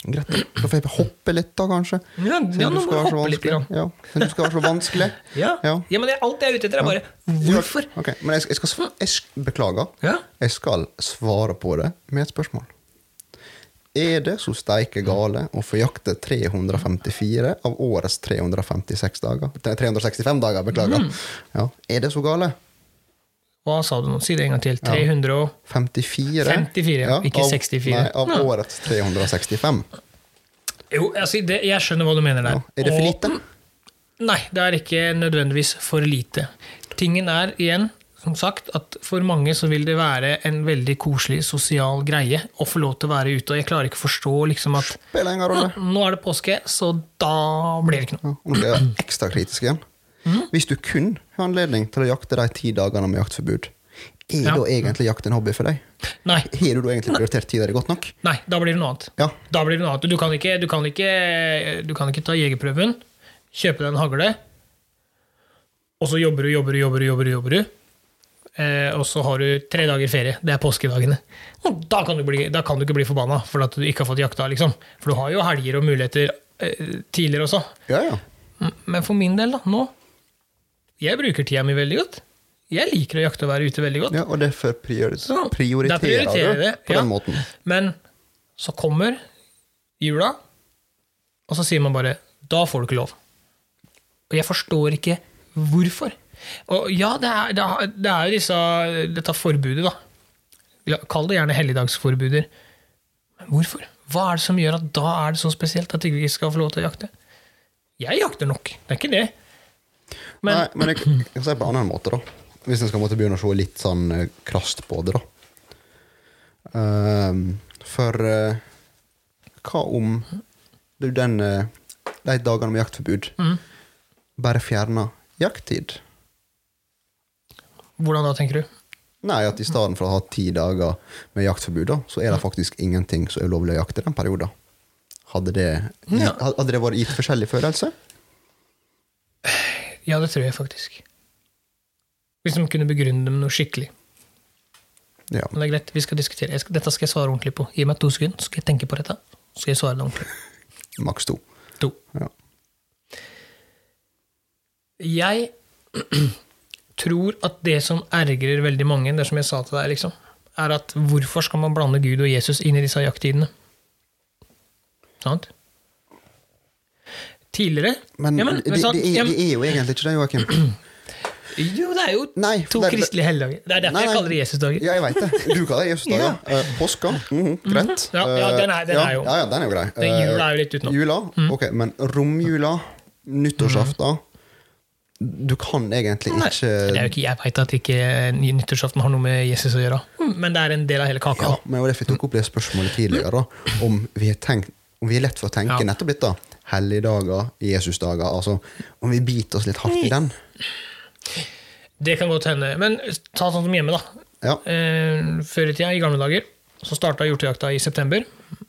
B: Greit. Så får jeg hoppe litt, da, kanskje.
A: Ja,
B: Siden
A: ja, nå
B: du
A: må
B: skal
A: du
B: være så
A: hoppe litt
B: vanskelig.
A: grann.
B: Ja, siden du skal være så vanskelig.
A: Ja.
B: Ja.
A: ja, men det, alt jeg er ute etter, er bare hvorfor?
B: Ok, Men jeg, jeg skal sv- jeg, sk- Beklager.
A: Ja.
B: Jeg skal svare på det med et spørsmål. Er det så steike gale å få jakte 354 av årets 356 dager? Tre- 365 dager, beklager.
A: Mm.
B: Ja. Er det så gale?
A: Hva sa du nå? Si det en gang til. 300 og
B: 54,
A: 54, ikke 64.
B: Av, nei, av
A: Ja.
B: årets 365.
A: Jo, altså, det, jeg skjønner hva du mener der.
B: Ja. Er det for
A: Og-
B: lite?
A: Nei, det er ikke nødvendigvis for lite. Tingen er igjen, som sagt, at for mange så vil det være en veldig koselig sosial greie å få lov til å være ute. Og jeg klarer ikke å forstå liksom at
B: Spiller ingen rolle.
A: nå er det påske, så da blir det ikke noe.
B: Ja, og nå blir jeg ekstra kritisk igjen.
A: Mm.
B: Hvis du kun har anledning til å jakte de ti dagene med jaktforbud, er
A: Ja.
B: da egentlig jakt en hobby for deg?
A: Nei,
B: Har du da egentlig prioritert tida di godt nok?
A: nei, da blir det noe annet.
B: Ja.
A: Da blir det noe annet. Du kan ikke, du kan ikke, du kan ikke ta jegerprøven, kjøpe deg en hagle, og så jobber du, jobber du, jobber du, jobber du, jobber du. Eh, og så har du tre dager ferie. Det er påskedagene. Og Da kan du, bli, da kan du ikke bli forbanna for at du ikke har fått jakta. Liksom. For du har jo helger og muligheter eh, tidligere også.
B: Ja, ja.
A: Mm, Men for min del, da, nå Jeg bruker tida mi veldig godt. Jeg liker å jakte og være ute veldig godt.
B: ja og derfor priori
A: Så, Sånn. da
B: prioriterer,
A: prioriterer jeg
B: du
A: det,
B: på
A: ja.
B: den måten.
A: Men så kommer jula, og så sier man bare Da får du ikke lov. Og jeg forstår ikke hvorfor. Og ja, det er, det er- det er jo disse Dette forbudet, da. Ja, Kall det gjerne helligdagsforbuder. Men hvorfor? Hva er det som gjør at da er det så spesielt at ikke vi skal få lov til å jakte? Jeg jakter nok, det er ikke det. Men
B: Nei, men jeg, jeg kan se på en annen måte, da. Hvis en skal måtte begynne å se litt sånn eh, krast på det, da. Ehm, for eh, hva om du den eh, de dagene med jaktforbud
A: Mm.
B: bare fjerner jakttid?
A: hvordan da, tenker du?
B: Nei, at i stedet for å ha ti dager med jaktforbud, da, så
A: Mm.
B: er det faktisk ingenting som er ulovlig å jakte i den perioden. Hadde det,
A: Ja.
B: hadde det vært gitt forskjellig følelse?
A: Ja, det tror jeg faktisk. Hvis de kunne begrunne det med noe skikkelig.
B: Ja.
A: Men det er greit, vi skal diskutere. Jeg skal, dette skal jeg svare ordentlig på. Gi meg to sekunder, så skal jeg tenke på dette. Så skal jeg svare det ordentlig.
B: Maks to.
A: To.
B: Ja.
A: Jeg tror at det som ergrer veldig mange, det er som jeg sa til deg, liksom, er at hvorfor skal man blande Gud og Jesus inn i disse jakttidene? Sant? Tidligere
B: Men,
A: Ja, men-
B: det,
A: men sant?
B: det, er,
A: Ja, men-
B: det er jo egentlig ikke det, Joakim.
A: Jo, det er jo
B: Nei,
A: to
B: det er-
A: kristelige helligdager. Det er derfor
B: Nei,
A: jeg
B: nei.
A: kaller det Jesusdager.
B: Ja, jeg veit det. Du kaller det Jesus-dag, ja. Eh, Påska. mhm, greit.
A: Ja, ja, den er- den
B: Eh,
A: er jo-
B: Ja, ja, den er jo grei.
A: Den
B: Eh,
A: jula er jo litt utenom. Mhm.
B: Jula, ok, Men romjula, nyttårsaften Du kan egentlig
A: Mhm. Nei,
B: ikke
A: Det er jo ikke, jeg veit at ikke nyttårsaften har noe med Jesus å gjøre, Mm, men det er en del av hele kaka.
B: Ja, men det var derfor jeg tok opp det spørsmålet tidligere. Da, om, vi har tenkt, om vi er lett for å tenke
A: Mhm. Ja.
B: nettopp litt, da. Helligdager, Jesusdager. Altså, om vi biter oss litt hardt i den.
A: Det kan godt hende. Men ta sånn som hjemme, da.
B: Ja.
A: Eh, før i tida, i gamle dager, så starta hjortejakta i september.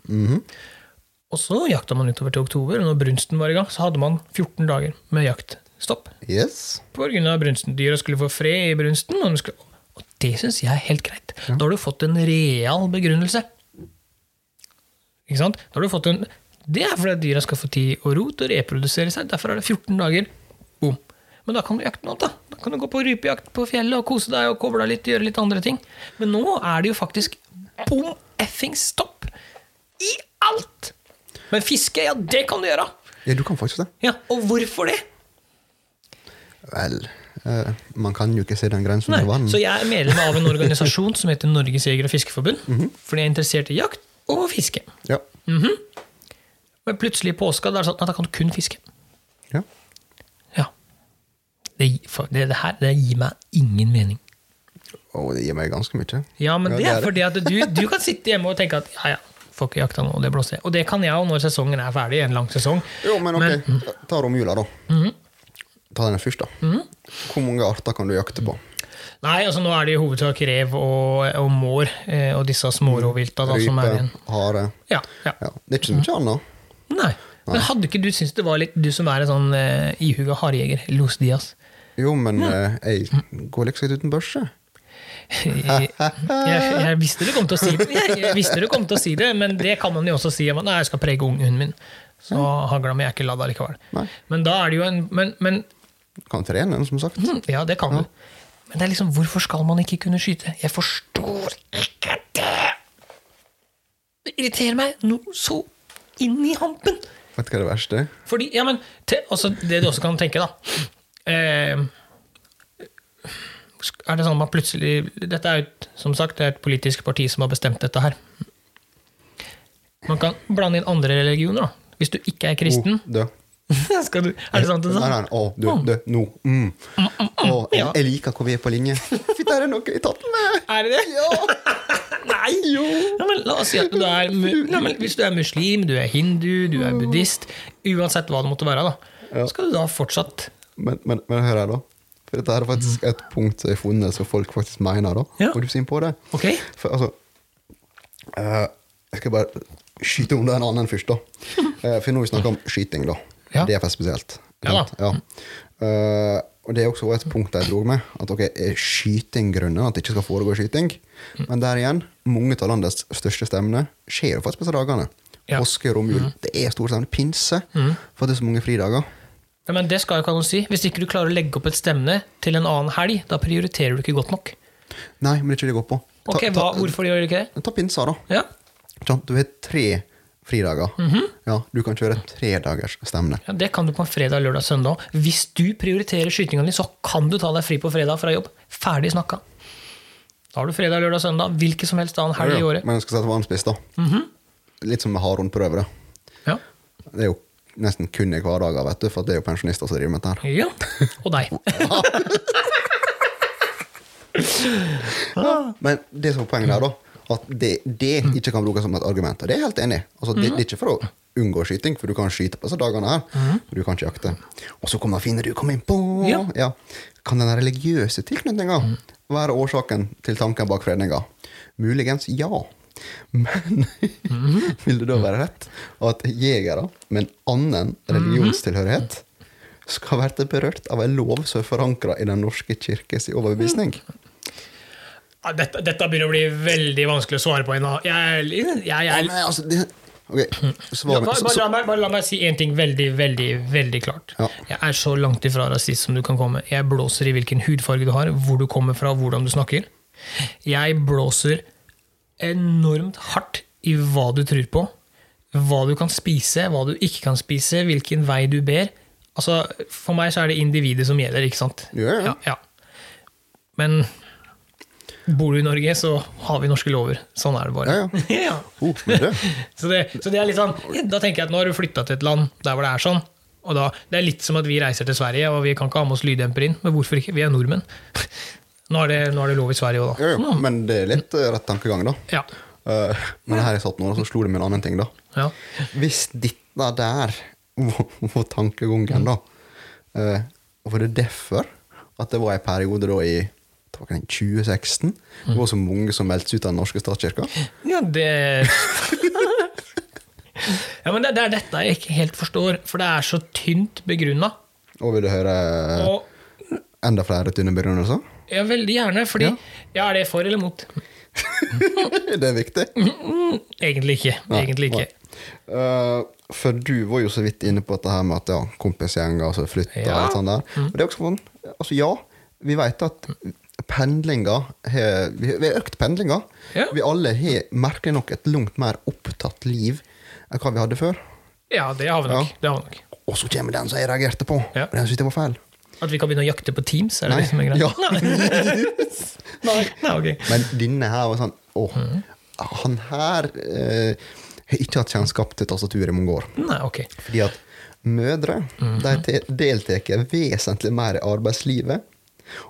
A: Og så jakta man utover til oktober, og når brunsten var i gang, så hadde man 14 dager med jaktstopp.
B: Yes.
A: På grunn av brunsten. Dyra skulle få fred i brunsten, og, de skulle, og det syns jeg er helt greit. Da har du fått en real begrunnelse. Ikke sant? Da har du fått en, det er fordi at dyra skal få tid og ro til å reprodusere seg. Derfor er det 14 dager. Boom. Men da kan du jakte noe annet. Da Da kan du gå på rypejakt på fjellet og kose deg og koble deg litt. gjøre litt andre ting. Men nå er det jo faktisk bom effings stopp i alt! Men fiske, ja, det kan du gjøre.
B: Ja, du kan faktisk det.
A: Ja, Og hvorfor det?
B: Vel eh, Man kan jo ikke se den grensen
A: Nei,
B: under vann.
A: Så jeg er medlem av en organisasjon som heter Norges jeger- og fiskeforbund. Fordi jeg er interessert i jakt og fiske.
B: Ja.
A: Men plutselig i påska da er det sånn at da kan du kun fiske.
B: ja.
A: Ja. Det, gi- for- det, det her det gir meg ingen mening.
B: Og det gir meg ganske mye.
A: Ja, men det er
B: det
A: fordi at du, du kan sitte hjemme og tenke at ja, ja, får ikke jakta nå, det blåser. Og det kan jeg òg når sesongen er ferdig, en lang sesong.
B: Jo, men ok,
A: Mm.
B: ta romjula, da.
A: Mhm.
B: Ta den først, da. Hvor mange arter kan du jakte på?
A: Nei, altså nå er det i hovedsak rev og, og mår eh, og disse smårovvilta da, som er
B: Rype,
A: igjen.
B: hare
A: Ja, ja.
B: ja. Det er ikke så mye annet.
A: Nei. Men hadde ikke du syntes det var litt Du som er en sånn eh, ihuga harejeger, Los Dias.
B: Jo, men eh, jeg går liksom litt uten børse.
A: jeg, jeg visste du kom til å si det, jeg, jeg visste du kom til å si det, men det kan man jo også si. om at, Nei, jeg skal prege ungen min. Så hagla mi er ikke ladd allikevel.
B: Nei.
A: Men da er det jo en men, men,
B: Du kan trene den, som sagt.
A: hm, Ja, det kan du. Men det er liksom, hvorfor skal man ikke kunne skyte? Jeg forstår ikke det! Det irriterer meg noe så inn i hampen!
B: Vet du hva det verste er?
A: Fordi, ja, men te, altså, Det du også kan tenke, da eh, Er det sånn at man plutselig Dette er jo et- som sagt det er et politisk parti som har bestemt dette her. Man kan blande inn andre religioner, da. Hvis du ikke er kristen.
B: Oh, dø.
A: Skal du, er det sant? Det er
B: Nei,
A: sant?
B: nei, å, du, du, nå. Mm. Å, jeg, jeg liker hvor vi er på linje. Fy, der er noe i tatt med!
A: Er det det? Nei! Ja, men la oss si at du er, mu- ja, men hvis du er muslim, du er hindu, du er buddhist Uansett hva det måtte være, da. Skal du da fortsatt
B: Men, men, men hør her, da. For dette her er faktisk et punkt som er funnet, som folk faktisk mener. da.
A: Mhm. Ja.
B: Og du er på det.
A: Ok?
B: For altså eh, Jeg skal bare skyte under en annen først, da. Eh, for nå har vi snakka om skyting, da.
A: Ja.
B: Det er for spesielt.
A: Ja da.
B: Sant? Ja. Eh, og det er også et punkt jeg dro med. At ok, er skyting grunnen at det ikke skal foregå skyting?
A: Mm.
B: Men der igjen, mange av landets største stevner skjer jo faktisk på disse dagene.
A: Ja. Mm.
B: Påske, romjul. Det er store stevner. Pinse. For det er så mange fridager.
A: Ja, men det skal jo ikke ha noe å si. Hvis ikke du klarer å legge opp et stemne til en annen helg, da prioriterer du ikke godt nok.
B: Nei, men det er ikke det jeg går på. Ta,
A: Ok, hva, Hvorfor gjør du ikke det?
B: ta, ta pinsa, da.
A: Ja,
B: Ikke sant? Du har tre fridager.
A: Mhm.
B: ja, du kan kjøre tredagers stemne.
A: ja Det kan du på en fredag, lørdag, søndag òg. Hvis du prioriterer skytinga di, så kan du ta deg fri på fredag fra jobb. Ferdig snakka. Da har du fredag, lørdag, søndag, hvilken som helst annen helg i året. Mhm.
B: Men jeg skal sette varmspiss, da. Litt som med hardhåndprøver. da.
A: Ja.
B: Det er jo nesten kun i hverdager, vet du, for det er jo pensjonister som driver med dette. her.
A: ja. Og deg.
B: Men det som er poenget der, da, at det, det ikke kan brukes som et argument. Og det er jeg helt enig i. Altså, det, det er ikke for å unngå skyting, for du kan skyte på disse dagene her. Men du kan ikke jakte. Og så kommer finner du kom inn på!
A: Ja.
B: Kan den religiøse tilknytninga være årsaken til tanken bak fredninga? Muligens ja. Men vil det da være rett at jegere med en annen religionstilhørighet skal være berørt av en lov som er forankra i Den norske kirkes overbevisning?
A: Ja, dette, dette begynner å bli veldig vanskelig å svare på ennå. Jeg, jeg, jeg,
B: Ja,
A: jeg,
B: men altså, det, ok,
A: Ja,
B: svaret,
A: bare,
B: så,
A: bare,
B: så,
A: la meg, bare la meg si én ting veldig, veldig veldig klart.
B: Ja.
A: Jeg er så langt ifra rasist som du kan komme. Jeg blåser i hvilken hudfarge du har, hvor du kommer fra, hvordan du snakker. Jeg blåser enormt hardt i hva du tror på, hva du kan spise, hva du ikke kan spise, hvilken vei du ber. Altså, For meg så er det individet som gjelder, ikke sant?
B: Ja, ja.
A: ja. Men bor du i Norge, så har vi norske lover. Sånn er det bare.
B: Ja,
A: ja.
B: oh, men det,
A: Så det, så det er litt sånn, da tenker jeg at nå har du flytta til et land der hvor det er sånn. Og da, det er litt som at vi reiser til Sverige, og vi kan ikke ha med oss lyddemper inn. Men hvorfor ikke? Vi er nordmenn. Nå er det, nå er det lov i Sverige òg, da.
B: ja, ja, men det er litt eh, rett tankegang, da.
A: Ja.
B: Eh, men her jeg satt nå, og så slo det med en annen ting, da.
A: ja.
B: Hvis dette der var var tankegangen, da eh, Var det derfor at det var en periode da i det var ikke den 2016
A: Mm.
B: Det var så mange som meldte seg ut av den norske statskirka?
A: ja, det Ja, men det, det er dette jeg ikke helt forstår, for det er så tynt begrunna.
B: Og vil du høre
A: Og
B: enda flere tynne begrunnelser?
A: ja, veldig gjerne, fordi ja, er det for eller mot?
B: det er viktig.
A: Egentlig ikke. Egentlig ikke.
B: Eh, for du var jo så vidt inne på dette her med at ja, kompisgjenger altså flytter
A: Ja. Mm.
B: og alt sånt der. Og det er også sånn, altså ja, vi vet at pendlinga har- Vi vi har økt pendlinga.
A: Ja.
B: Vi alle har merkelig nok et langt mer opptatt liv enn hva vi hadde før.
A: Ja, det har vi nok.
B: Ja.
A: Det har vi nok.
B: Og så kommer den som jeg reagerte på.
A: Ja.
B: og Den synes jeg var feil.
A: At vi kan begynne å jakte på Teams, er det det som er
B: Ja.
A: greit? Nei. Nei, ok.
B: Men denne her var sånn Å,
A: Mm.
B: han her eh, har ikke hatt kjennskap til tastatur i mange år.
A: Nei, ok.
B: Fordi at mødre de
A: Mhm.
B: te- deltar vesentlig mer i arbeidslivet,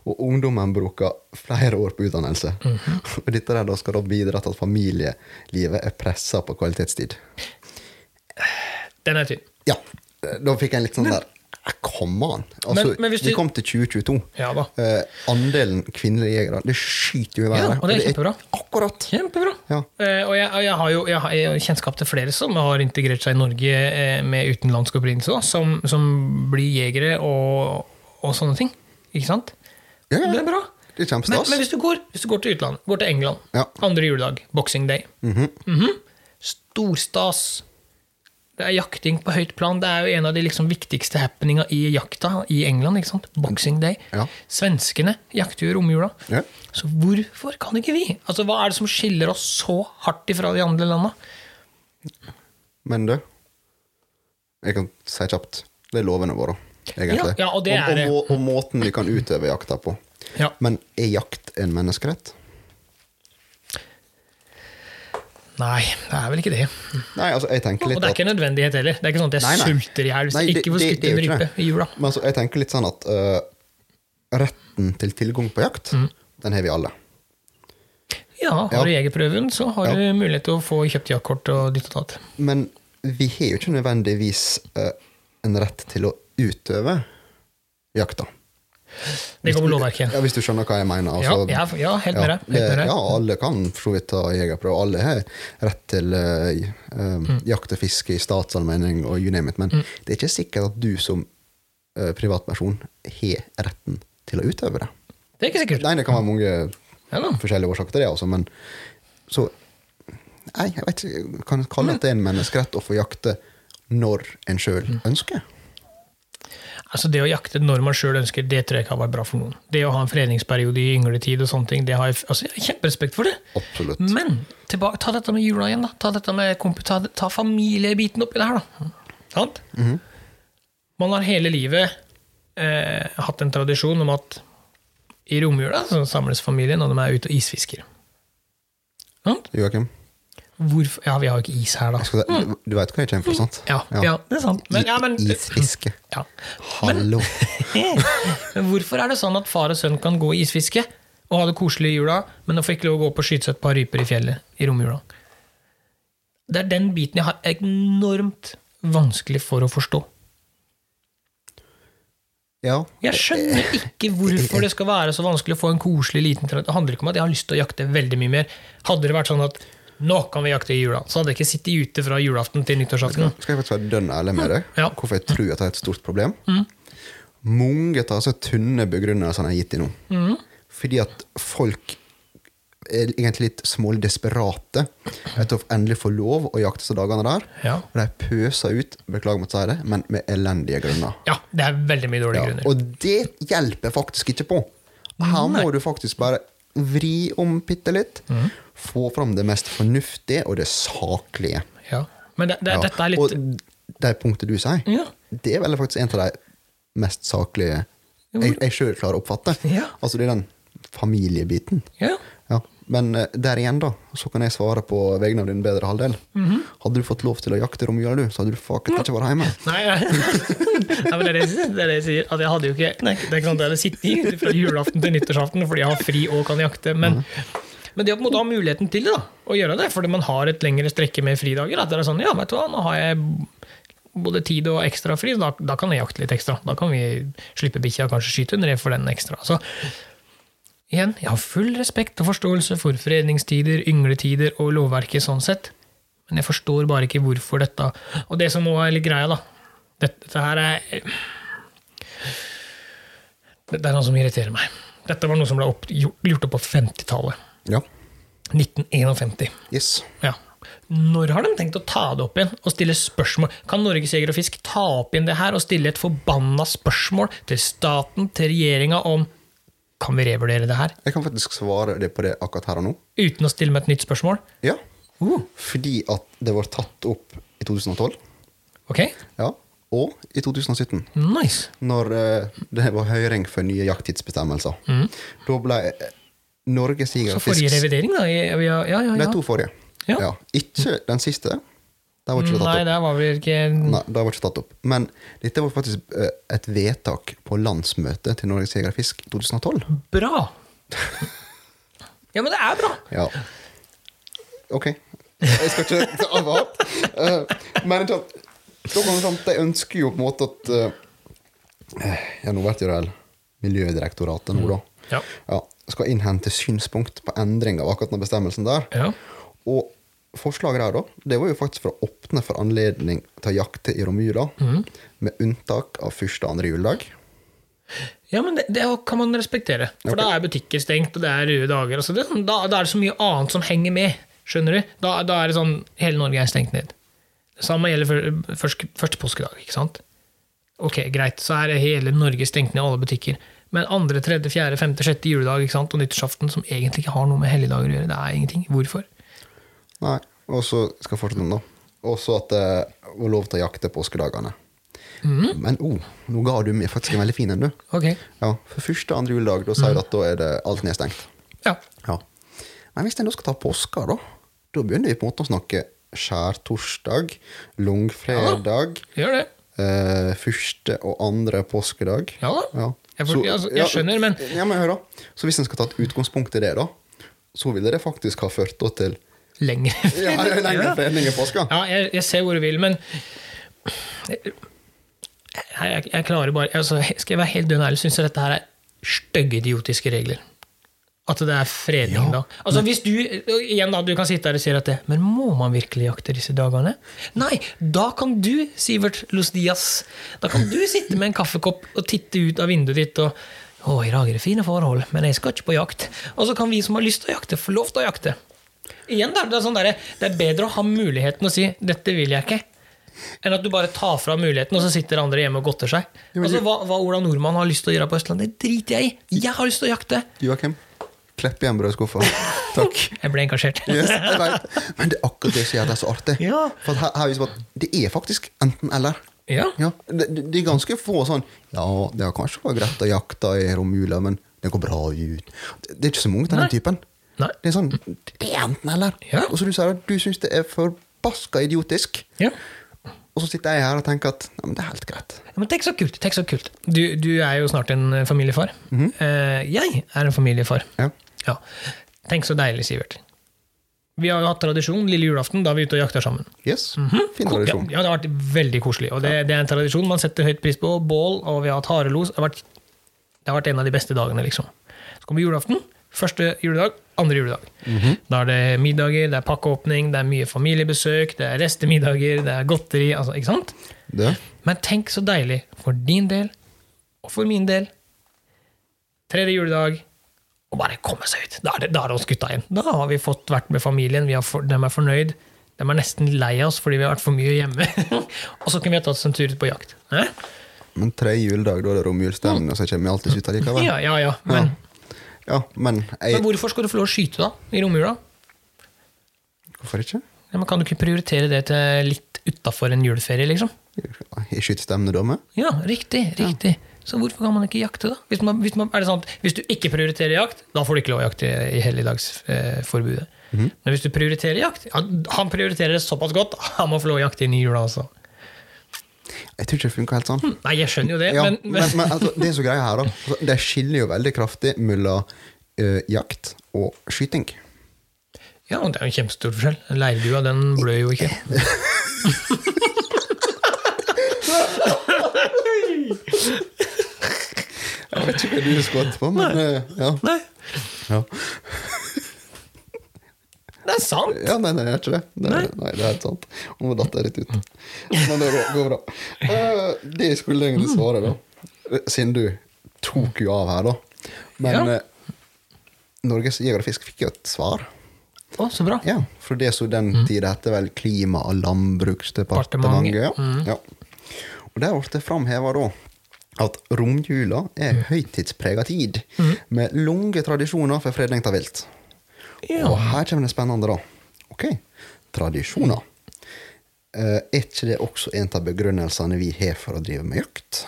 B: og ungdommen bruker flere år på utdannelse.
A: Mhm.
B: Og dette der da skal da bidra til at familielivet er pressa på kvalitetstid.
A: Den er tynn.
B: Ja, da fikk jeg en litt sånn der Kom an! Altså,
A: Men- men hvis
B: vi
A: du-
B: kom til 2022.
A: Ja da.
B: Eh, andelen kvinnelige jegere, det skyter jo i været.
A: Ja, og det er kjempebra.
B: Akkurat.
A: Kjempebra.
B: Ja.
A: Eh, og jeg, og jeg har jo jeg har, jeg har kjennskap til flere som har integrert seg i Norge eh, med utenlandsk opprinnelse, også, som, som blir jegere og, og sånne ting. Ikke sant?
B: Ja, ja.
A: Det er bra.
B: Det er
A: Men,
B: kjempestas.
A: men hvis, du går, hvis du går til utlandet, går til England,
B: Ja.
A: andre juledag, boxing day Mhm. Storstas. Det er jakting på høyt plan. Det er jo en av de liksom viktigste happeninga i jakta i England. ikke sant? Boxing day.
B: Ja.
A: Svenskene jakter jo romjula.
B: Ja.
A: Så hvorfor kan ikke vi? Altså, Hva er det som skiller oss så hardt ifra de andre landa?
B: Men du, jeg kan si kjapt. Det er lovene våre, egentlig.
A: Ja, ja, og det er det.
B: og, og, måten vi kan utøve jakta på.
A: Ja.
B: Men er jakt en menneskerett?
A: Nei, det er vel ikke det.
B: Nei, altså, jeg tenker
A: Og
B: litt
A: det er ikke en nødvendighet heller. Det er ikke sånn at jeg
B: Nei, nei.
A: sulter i hjel hvis
B: Nei,
A: jeg
B: det-
A: ikke får
B: det-
A: skutt
B: det er
A: en
B: jo ikke
A: rype
B: det.
A: i jula.
B: Men altså, jeg tenker litt sånn at eh, retten til tilgang på jakt,
A: Mm.
B: den har vi alle.
A: Ja, har
B: Ja.
A: du jegerprøven, så har du mulighet til å få kjøpt jaktkort og ditt og datt.
B: Men vi har jo ikke nødvendigvis eh, en rett til å utøve jakta.
A: Det går på lovverket.
B: Ja, hvis du skjønner hva jeg mener.
A: Ja,
B: Altså,
A: ja, ja, helt med deg.
B: det-
A: Helt med deg.
B: ja, alle kan for så vidt ta jegerprøve. Alle har rett til eh, i- eh,
A: Mm.
B: jakt og fiske i statsallmenning og you name it. Men det er ikke sikkert at du som eh, privatperson har retten til å utøve det.
A: Det er ikke sikkert.
B: Nei, det kan være mange
A: Ja, da.
B: forskjellige årsaker til det, altså, men så Nei, jeg vet ikke. Kan jeg
A: Mm.
B: kalle at det er en menneskerett å få jakte når en sjøl
A: Mm.
B: ønsker?
A: Altså Det å jakte når man sjøl ønsker, det tror jeg ikke har vært bra for noen. Det å ha en fredningsperiode i yngletid og sånne ting, det har jeg, altså, jeg har kjemperespekt for det.
B: Absolutt.
A: Men tilbake, ta dette med jula igjen, da. Ta, dette med komp ta, ta familiebiten oppi det her, da. Sant?
B: Mhm.
A: Man har hele livet eh, hatt en tradisjon om at i romjula så samles familien, og de er ute og isfisker. Sant?
B: Joakim,
A: Hvorfor Ja, vi har jo ikke is her, da.
B: jeg skal si- du, du vet hva jeg kommer fra, sant?
A: Mm. Ja, ja. det er sant. Men, ja, men,
B: I- Isfiske.
A: ja.
B: Hallo!
A: men hvorfor er det sånn at far og sønn kan gå i isfiske og ha det koselig i jula, men de får ikke lov å gå opp og skyte seg et par ryper i fjellet i romjula? Det er den biten jeg har enormt vanskelig for å forstå.
B: Ja.
A: Jeg skjønner ikke hvorfor det skal være så vanskelig å få en koselig liten tradisjon. Det handler ikke om at jeg har lyst til å jakte veldig mye mer. Hadde det vært sånn at nå kan vi jakte i jula, så hadde jeg ikke sittet ute fra julaften til nyttårsaften.
B: Skal jeg faktisk være dønn ærlig med deg?
A: Ja. Mm.
B: Hvorfor jeg tror at det er et stort problem? Mange tar seg tynne begrunnelser han har gitt i nå.
A: Mm.
B: Fordi at folk er egentlig litt smålig desperate etter å endelig få lov å jakte disse dagene der.
A: Ja.
B: Og de pøser ut, beklager om å si det, men med elendige grunner.
A: Ja, det er veldig mye dårlige
B: Ja,
A: grunner.
B: og det hjelper faktisk ikke på. Her må du faktisk bare vri om bitte litt.
A: Mm.
B: Få fram det mest fornuftige og det saklige.
A: Ja. Men det, det,
B: Ja,
A: dette er litt
B: Og de punktene du sier,
A: Ja.
B: det er vel faktisk en av de mest saklige jeg, jeg sjøl klarer å oppfatte.
A: Ja.
B: Altså det er den familiebiten.
A: Ja.
B: Ja. Men eh, der igjen, da, så kan jeg svare på vegne av din bedre halvdel.
A: Mhm.
B: Hadde du fått lov til å jakte romjula, du, så hadde du faket ikke vært hjemme.
A: Nei, ja. Nei, men det er det, jeg sier- det er det jeg sier. At jeg hadde jo ikke Nei, det er ikke sant, jeg hadde sittet i fra julaften til nyttårsaften fordi jeg har fri og kan jakte.
B: Mhm.
A: Men, men det å på en måte ha muligheten til det, da, å gjøre det, fordi man har et lengre strekke med fridager at det er sånn, ja, vet du hva, nå har jeg både tid og ekstra fri, så da, da kan jeg jakte litt ekstra. Da kan vi slippe bikkja og kanskje skyte en rev for den ekstra. altså. Så igjen, jeg har full respekt og forståelse for fredningstider, yngletider og lovverket sånn sett, men jeg forstår bare ikke hvorfor dette Og det som nå er litt greia, da Dette, dette her er Det det er noe som irriterer meg. Dette var noe som ble opp, gjort opp på 50-tallet.
B: Ja.
A: 1951.
B: Yes.
A: Ja. Når har de tenkt å ta det opp igjen og stille spørsmål? Kan Norges Jeger og Fisk ta opp igjen det her og stille et forbanna spørsmål til staten, til regjeringa, om kan vi revurdere det her?
B: Jeg kan faktisk svare det på det akkurat her og nå.
A: Uten å stille med et nytt spørsmål?
B: Ja.
A: Uh,
B: Fordi at det var tatt opp i 2012,
A: ok,
B: ja. og i 2017.
A: nice.
B: når eh, det var høring for nye jakttidsbestemmelser. Da ble eh,
A: Mm.
B: Norges
A: Så
B: Jegerfisk
A: forrige revidering, da? i- Ja, ja, ja.
B: De
A: ja.
B: to forrige.
A: Ja. Mm.
B: Ikke den siste. Der var ikke det tatt
A: Nei,
B: opp.
A: der var vel ikke
B: Nei, det var ikke tatt opp. Men dette var faktisk eh, et vedtak på landsmøtet til Norges Jegerfisk 2012.
A: Bra! Ja, men det er bra!
B: Ja. Ok. Jeg skal ikke ta av alt. Eh, Men ikke sant, da kommer det fram til at de ønsker jo på en måte at eh, Ja, nå blir det vel Miljødirektoratet nå, da.
A: Mm. Ja.
B: skal innhente synspunkt på endring av akkurat den bestemmelsen der.
A: Ja.
B: Og forslaget der, da, det var jo faktisk for å åpne for
A: Mm.
B: anledning til å jakte i romjula, med unntak av første og andre juledag.
A: Ja, men det, det kan man respektere. For
B: Ok.
A: da er butikker stengt, og det er røde dager. Altså det, er sånn- da, da er det så mye annet som henger med. Skjønner du? Da, da er det sånn Hele Norge er stengt ned. Det samme gjelder for, først, første påskedag, ikke sant? Ok, greit, så er hele Norge stengt ned, alle butikker. Men andre, tredje, fjerde, femte, sjette juledag ikke sant? og nyttårsaften, som egentlig ikke har noe med helligdager å gjøre, det er ingenting. Hvorfor?
B: Nei, og så skal jeg fortsette med det. Og så at eh, hun lov til å jakte påskedagene.
A: Mm.
B: Men oh, nå ga du meg faktisk en veldig fin en, du.
A: Ok,
B: Ja, for første og andre juledag, da
A: Mm.
B: sier du at da er det alt nedstengt.
A: ja.
B: Ja. Men hvis en da skal ta påska, da, da begynner vi på en måte å snakke skjærtorsdag, langfredag,
A: Gjør det.
B: eh, første og andre påskedag.
A: Ja da. Jeg, for, altså, jeg skjønner, men
B: ja, men hør da. Så hvis en skal ta et utgangspunkt i det, da, så ville det faktisk ha ført da til
A: lenger
B: ja, det er lengre fredning i påska.
A: Ja, jeg, jeg ser hvor du vil, men Nei, jeg, jeg klarer bare altså, Skal jeg være helt dønn ærlig, syns jeg dette her er stygge idiotiske regler. At det er fredning, da. Altså hvis du, og igjen da, du kan sitte her og si at det, Men må man virkelig jakte disse dagene? Nei, da kan du, Sivert Los Dias, da kan du sitte med en kaffekopp og titte ut av vinduet ditt og Å, i dag er det fine forhold, men jeg skal ikke på jakt. Og så kan vi som har lyst til å jakte, få lov til å jakte. Igjen da, det er, sånn der, det er bedre å ha muligheten å si 'dette vil jeg ikke', enn at du bare tar fra muligheten, og så sitter andre hjemme og godter seg. Altså, hva, hva Ola Nordmann har lyst til å gjøre på Østlandet, det driter jeg i. Jeg har lyst til å jakte.
B: Joakim, klepp igjen brødskuffa. Takk.
A: Jeg ble engasjert.
B: Yes, jeg vet. Men det er akkurat det som gjør det så artig.
A: Ja.
B: For her, her viser man at det er faktisk enten-eller.
A: Ja.
B: Ja, det, det det er ganske få sånn Ja, det har kanskje vært greit å jakte i romjula, men det går bra ut. Det, det er ikke så mange av
A: Nei.
B: den typen.
A: Nei.
B: Det er sånn Det er enten-eller.
A: Ja.
B: Og så du sier at du syns det er forbaska idiotisk,
A: Ja.
B: og så sitter jeg her og tenker at ja, men det er helt greit.
A: Ja, Men tenk så kult. tenk så kult. Du, du er jo snart en eh, familiefar.
B: Mhm.
A: Eh, jeg er en familiefar.
B: Ja.
A: Ja. Tenk så deilig, Sivert. Vi har jo hatt tradisjon lille julaften da vi er ute og jakter sammen.
B: Yes. Fin
A: Mhm. Ja,
B: tradisjon.
A: ja, det har vært veldig koselig. Og det, det er en tradisjon man setter høyt pris på. Bål, og vi har hatt harelos. Det har vært, det har vært en av de beste dagene, liksom. Så kommer julaften. Første juledag, andre juledag.
B: Mhm.
A: Da er det middager, det er pakkeåpning, det er mye familiebesøk, det er restemiddager, det er godteri. Altså, ikke sant?
B: Det.
A: Men tenk så deilig for din del, og for min del. Tredje juledag. Og bare komme seg ut. Da er det, da er det oss gutta igjen. Da har vi fått vært med familien, vi har for, de er fornøyd. De er nesten lei av oss fordi vi har vært for mye hjemme. og så kunne vi ha tatt oss en tur ut på jakt. Eh?
B: Men tredje juledag, da er det romjulsstemning, og så kommer vi alltid ut allikevel.
A: Mm. Ja, ja, ja. Men,
B: Ja, men jeg,
A: men hvorfor skal du få lov å skyte da, i romjula?
B: Hvorfor ikke?
A: Ja, men kan du ikke prioritere det til litt utafor en juleferie, liksom?
B: I skytestemmene da med?
A: Ja, riktig. riktig. Så hvorfor kan man ikke jakte, da? Hvis, man, hvis, man, er det sant? hvis du ikke prioriterer jakt, da får du ikke lov å jakte i helligdagsforbudet. Eh,
B: Mhm.
A: forbudet. Men hvis du prioriterer jakt ja, Han prioriterer det såpass godt, han må få lov å jakte inn i jula også.
B: Jeg tror ikke det funker helt sånn.
A: altså. Nei, jeg skjønner jo det,
B: Ja,
A: Hm, men,
B: men, men, altså, det er så greia her, da. Altså, det skiller jo veldig kraftig mellom eh, jakt og skyting.
A: Ja, det er jo en kjempestor forskjell. Leirdua, den blør jo ikke.
B: Jeg vet ikke hva du skvatt på, men eh, ja.
A: Nei,
B: Ja.
A: det er sant!
B: ja, nei, nei, jeg gjør ikke det. det nei. nei, det er helt sant. Nå datt jeg litt ut. Men det går- går bra. Eh, det jeg skulle egentlig svare, da, siden du tok jo av her, da Men
A: Ja.
B: eh, Norges Jeger og Fisk fikk jo et svar.
A: Å, så bra.
B: Ja, for det som
A: Mm.
B: den tida hette vel Klima- og landbruksdepartementet.
A: Mm.
B: Ja. Og der ble det framheva da at romjula er
A: Mm.
B: ei høytidsprega tid, med lange tradisjoner for fredning av vilt.
A: Ja.
B: Og her kommer det spennende, da. Ok, tradisjoner. Eh, er ikke det også en av begrunnelsene vi har for å drive med jakt?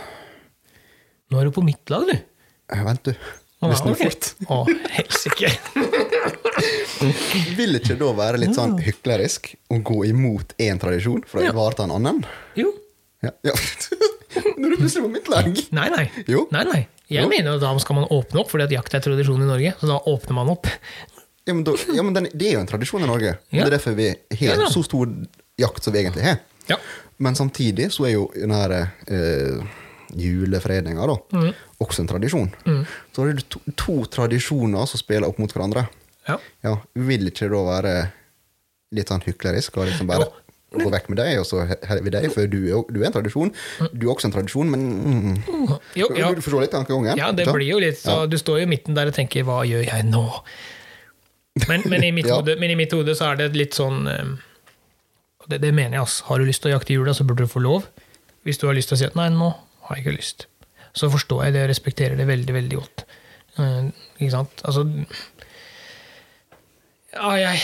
A: Nå er du på mitt lag, du.
B: Eh, Vent, du.
A: Å,
B: Hvis du
A: ok. Å, helsike.
B: Vil det ikke da være litt sånn hyklerisk å gå imot én tradisjon for å
A: Ja.
B: ivareta en annen?
A: Jo.
B: Ja. ja. Når du plutselig på mitt lag.
A: Nei, nei.
B: Jo.
A: Nei, nei. Jeg
B: Jo.
A: mener at da skal man åpne opp, fordi at jakt er tradisjon i Norge. Så da åpner man opp.
B: Ja, men, da, ja, men den, det er jo en tradisjon i Norge.
A: Ja.
B: Det er derfor vi har
A: Ja da.
B: så stor jakt som vi egentlig har.
A: Ja.
B: Men samtidig så er jo den her eh, julefredninga da,
A: Mm.
B: også en tradisjon. Så har du to, to tradisjoner som spiller opp mot hverandre.
A: Ja.
B: Ja, Vil ikke det da være litt sånn hyklerisk? Og liksom bare,
A: Jo,
B: og gå vekk med deg, og så her er vi deg, for du er, jo- du er en tradisjon. Du er også en tradisjon, men mm,
A: Jo, ja.
B: Du forstår litt tankegangen?
A: ja, det
B: ikke sant?
A: blir jo litt så Du står jo i midten der og tenker 'hva gjør jeg nå?' Men, men, i, mitt
B: Ja.
A: hode, men i mitt hode så er det litt sånn eh, og det, det mener jeg, altså. Har du lyst til å jakte jula, så burde du få lov. Hvis du har lyst til å si at 'nei, nå har jeg ikke lyst', så forstår jeg det og respekterer det veldig, veldig godt. Eh, ikke sant? Altså Ja, jeg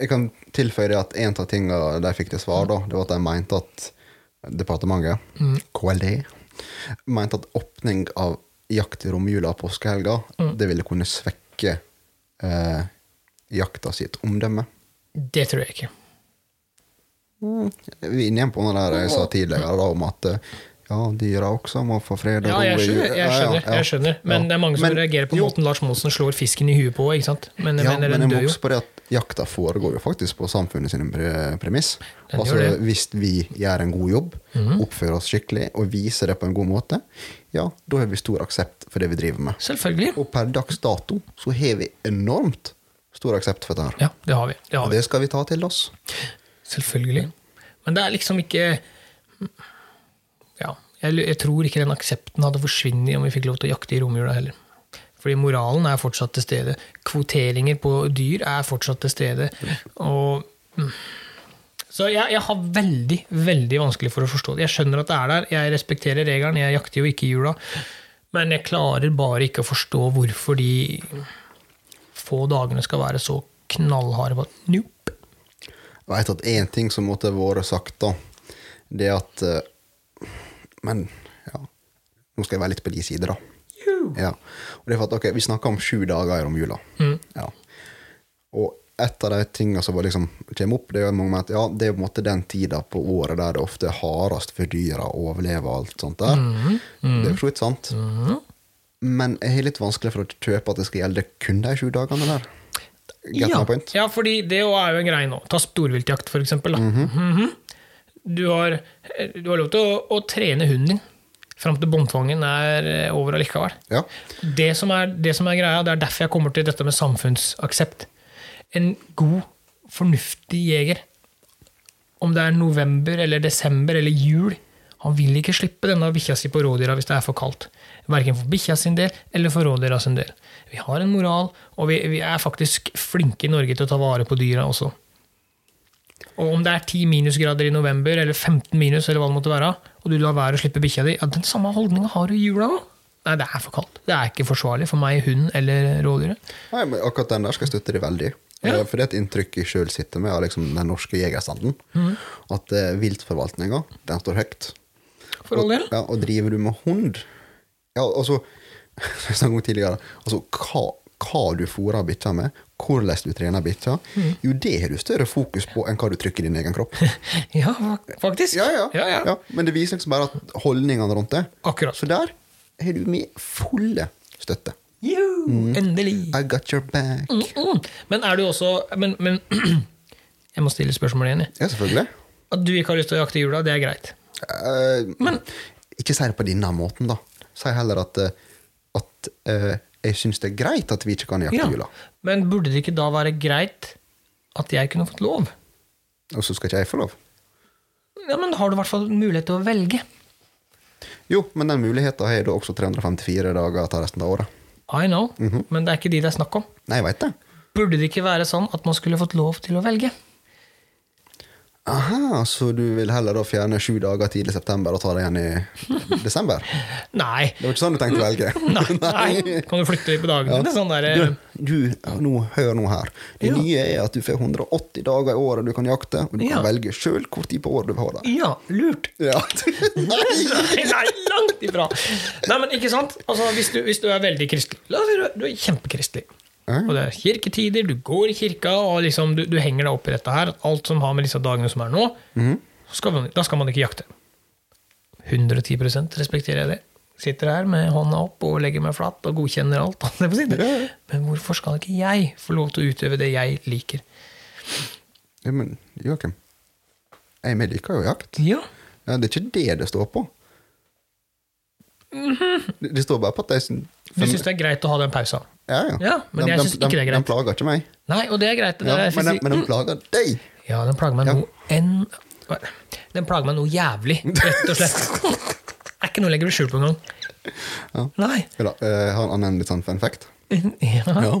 B: Jeg kan tilføye det at en av tingene de fikk til svar, da, det var at de mente at departementet,
A: Mm.
B: KLD, mente at åpning av jakt i romjula og påskehelga,
A: Mm.
B: det ville kunne svekke eh, jakta sitt omdømme.
A: Det tror jeg ikke.
B: Vi er inne igjen på noe der jeg sa tidligere da, om at eh, ja, dyra også må få fred og
A: Ja, jeg
B: ro i jul.
A: skjønner, jeg
B: Ja, ja,
A: skjønner,
B: ja.
A: jeg skjønner. men
B: Ja.
A: det er mange som
B: Men-
A: reagerer på
B: jo,
A: måten Lars Monsen slår fisken i huet på. ikke sant? Men, jeg
B: Ja,
A: mener,
B: men
A: den
B: jeg må
A: dør jo.
B: huske på det at jakta foregår jo faktisk på samfunnet sine pre premiss.
A: Den
B: Altså,
A: gjør det. Mhm.
B: hvis vi gjør en god jobb, oppfører oss skikkelig og viser det på en god måte, ja, da har vi stor aksept for det vi driver med.
A: Selvfølgelig.
B: Og per dags dato så har vi enormt stor aksept for dette her.
A: Ja, det har vi. Det har
B: Og
A: vi.
B: det skal vi ta til oss.
A: Selvfølgelig. Men det er liksom ikke Ja, jeg, jeg tror ikke den aksepten hadde forsvunnet om vi fikk lov til å jakte i romjula heller. Fordi moralen er fortsatt til stede. Kvoteringer på dyr er fortsatt til stede. Og mm. Så jeg, jeg har veldig veldig vanskelig for å forstå det. Jeg skjønner at det er der, jeg respekterer regelen, jeg jakter jo ikke i jula. Men jeg klarer bare ikke å forstå hvorfor de få dagene skal være så knallharde på at nope.
B: Jeg vet at én ting som måtte vært sagt, da, det er at eh, Men ja, nå skal jeg være litt på de sider, da. Ja. Og det er for at, ok, Vi snakker om sju dager i romjula.
A: Mm.
B: Ja. Og et av de tingene som var liksom, kommer opp, det er jo mange mener at ja, det er på en måte den tida på året der det ofte er hardest for dyra å overleve og alt sånt der.
A: Mm-hmm.
B: Det er jo for så vidt sant. Men jeg har litt vanskelig for å kjøpe at det skal gjelde kun de sju dagene der. Get my
A: ja.
B: point?
A: Ja, fordi det jo er jo en greie nå. Ta storviltjakt, for eksempel. Da. Mhm. du, har, eh, du har lov til å, å trene hunden din fram til båndtvangen er eh, over allikevel.
B: Ja.
A: Det som, er, det som er greia, det er derfor jeg kommer til dette med samfunnsaksept. En god, fornuftig jeger, om det er november eller desember eller jul, han vil ikke slippe denne bikkja si på rådyra hvis det er for kaldt. Verken for bikkja sin del eller for rådyra sin del. Vi har en moral, og vi, vi er faktisk flinke i Norge til å ta vare på dyra også. Og om det er 10 minusgrader i november, eller 15 minus, eller hva det måtte være, og du lar være å slippe bikkja di, ja, den samme holdninga har du i jula òg. Nei, det er for kaldt. Det er ikke forsvarlig for meg, hunden eller rådyret.
B: Nei, men akkurat den der skal jeg støtte deg veldig.
A: Ja.
B: Eh, For det er et inntrykk jeg sjøl sitter med av liksom den norske jegerstanden.
A: Mm.
B: At eh, viltforvaltninga, den står høyt.
A: For all del.
B: Og, ja, og driver du med hund Ja, altså Som jeg snakket om tidligere, altså hva, hva du fôrer bikkja med, hvordan du trener bikkja,
A: Mm.
B: jo, det har du større fokus på enn hva du trykker i din egen kropp.
A: Ja, fak- faktisk.
B: Ja, ja.
A: ja, ja.
B: Ja, men det viser liksom bare at holdningene rundt det.
A: Akkurat.
B: Så der har du min fulle støtte.
A: Jo, Endelig.
B: I got your back.
A: Mm. Men er du også Men, men jeg må stille spørsmålet igjen. jeg.
B: Ja, selvfølgelig.
A: At du ikke har lyst til å jakte i jula, det er greit.
B: Eh, ikke si det på denne måten, da. Si heller at, eh, at eh, jeg syns det er greit at vi ikke kan jakte
A: Ja.
B: jula.
A: Men burde det ikke da være greit at jeg kunne fått lov?
B: Og så skal ikke jeg få lov.
A: Ja, men da har du i hvert fall mulighet til å velge.
B: Jo, men den muligheten har jeg da også 354 dager til resten av året.
A: I know, men det er ikke de det er snakk om.
B: Nei, jeg veit det.
A: Burde det ikke være sånn at man skulle fått lov til å velge?
B: Aha, så du vil heller da fjerne sju dager tidlig i september og ta det igjen i desember?
A: Nei.
B: Det var ikke sånn du tenkte å velge?
A: Nei. Nei. Kan du flytte litt på dagene? Det er sånn der, eh,
B: Du, du ja, nå, hør nå her. Det nye er at du får 180 dager i året du kan jakte, og du
A: Ja.
B: kan velge sjøl hvor tid på året du vil ha det.
A: ja, lurt.
B: Ja.
A: Nei, nei, langt ifra! Nei, men ikke sant? Altså, hvis, du, hvis du er veldig kristelig La oss si du, du er kjempekristelig.
B: Ja.
A: Og det er kirketider, du går i kirka, og liksom, du, du henger deg opp i dette her. Alt som har med disse dagene som er nå,
B: Mhm.
A: så skal man, da skal man ikke jakte. 110 respekterer jeg det. Sitter her med hånda opp og legger meg flat og godkjenner alt. holdt jeg på å si.
B: Ja, ja.
A: Men hvorfor skal ikke jeg få lov til å utøve det jeg liker?
B: Ja, men Joakim, jeg vi liker jo jakt.
A: Ja,
B: Ja, det er ikke det det står på. Det det sånn står bare på at de syn-
A: Mhm. Du syns det er greit å ha den pausen?
B: Ja, ja.
A: Ja, men jeg synes ikke det er greit.
B: De plager ikke meg.
A: Nei, og det er greit. Det
B: Ja,
A: er
B: men, de,
A: fysikk-
B: men de plager deg!
A: Ja, den plager meg
B: Ja.
A: noe enn Den plager meg noe jævlig, rett og slett. Det er ikke noe å legge skjul på engang.
B: Ja.
A: Nei.
B: Eller, eh, har en annen litt sånn fun fact.
A: Ja.
B: Ja.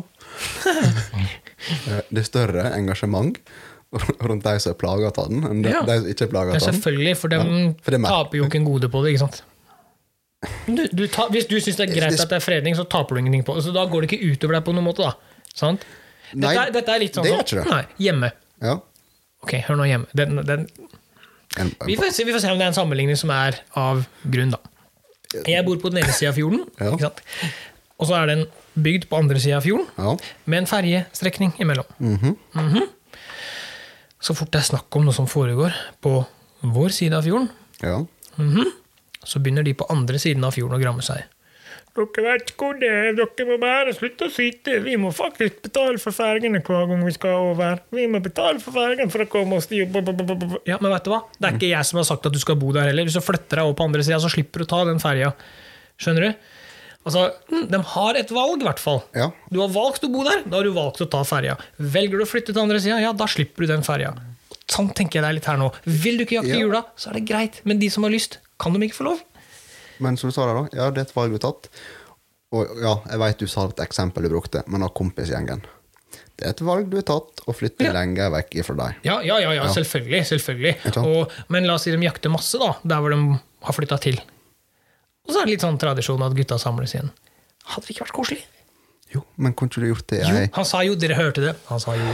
B: Eh, det er større engasjement rundt de som er plaga av den, enn de,
A: Ja.
B: de som ikke er plaga
A: Ja,
B: av den.
A: selvfølgelig, for dem
B: sånn. Ja, for det er meg.
A: taper jo ikke en gode på det. ikke sant? Du, du ta, hvis du syns det er greit
B: Det-
A: at det er fredning, så taper du ingenting på det. Så da går det ikke utover deg på noen måte, da. Sant? Dette,
B: Nei,
A: er, dette er litt sånn
B: det
A: som-
B: er ikke det.
A: Nei, hjemme.
B: Ja.
A: Ok, hør nå hjemme. Den, den,
B: En,
A: vi, får se, vi får se om det er en sammenligning som er av grunn, da. Jeg bor på den ene sida av fjorden,
B: Ja.
A: ikke sant? og så er den bygd på andre sida av fjorden.
B: ja.
A: med en ferjestrekning imellom. Mhm. Så fort det er snakk om noe som foregår på vår side av fjorden,
B: ja.
A: så begynner de på andre siden av fjorden å gramme seg. Dere vet hvor det er, dere må bare slutte å syte. Vi må faktisk betale for fergene hver gang vi skal over. Vi må betale for fergen for å komme oss til jobb. Ja, men vet du hva? Det er ikke jeg som har sagt at du skal bo der heller. Hvis du flytter deg over på andre sida, så slipper du å ta den ferja. Skjønner du? Altså, mm, De har et valg, i hvert fall.
B: Ja.
A: Du har valgt å bo der, da har du valgt å ta ferja. Velger du å flytte til andre sida, ja, da slipper du den ferja. Sånn tenker jeg det er litt her nå. Vil du ikke jakte
B: Ja.
A: jula, så er det greit. Men de som har lyst, kan de ikke få lov?
B: Men som du sa der, da. Ja, det er et valg du har tatt. Og ja, jeg vet du sa et eksempel du brukte, men av kompisgjengen. Det er et valg du har tatt, å flytte
A: Ja.
B: lenger vekk ifra deg.
A: Ja, ja, ja, ja, selvfølgelig. selvfølgelig.
B: Ikke sant?
A: Og, men la oss si de jakter masse, da, der hvor de har flytta til. Og så er det litt sånn tradisjon at gutta samles igjen. Hadde det ikke vært koselig?
B: Jo, men kunne ikke du gjort det?
A: Jo,
B: Jeg,
A: han sa jo, dere hørte det. Han sa jo.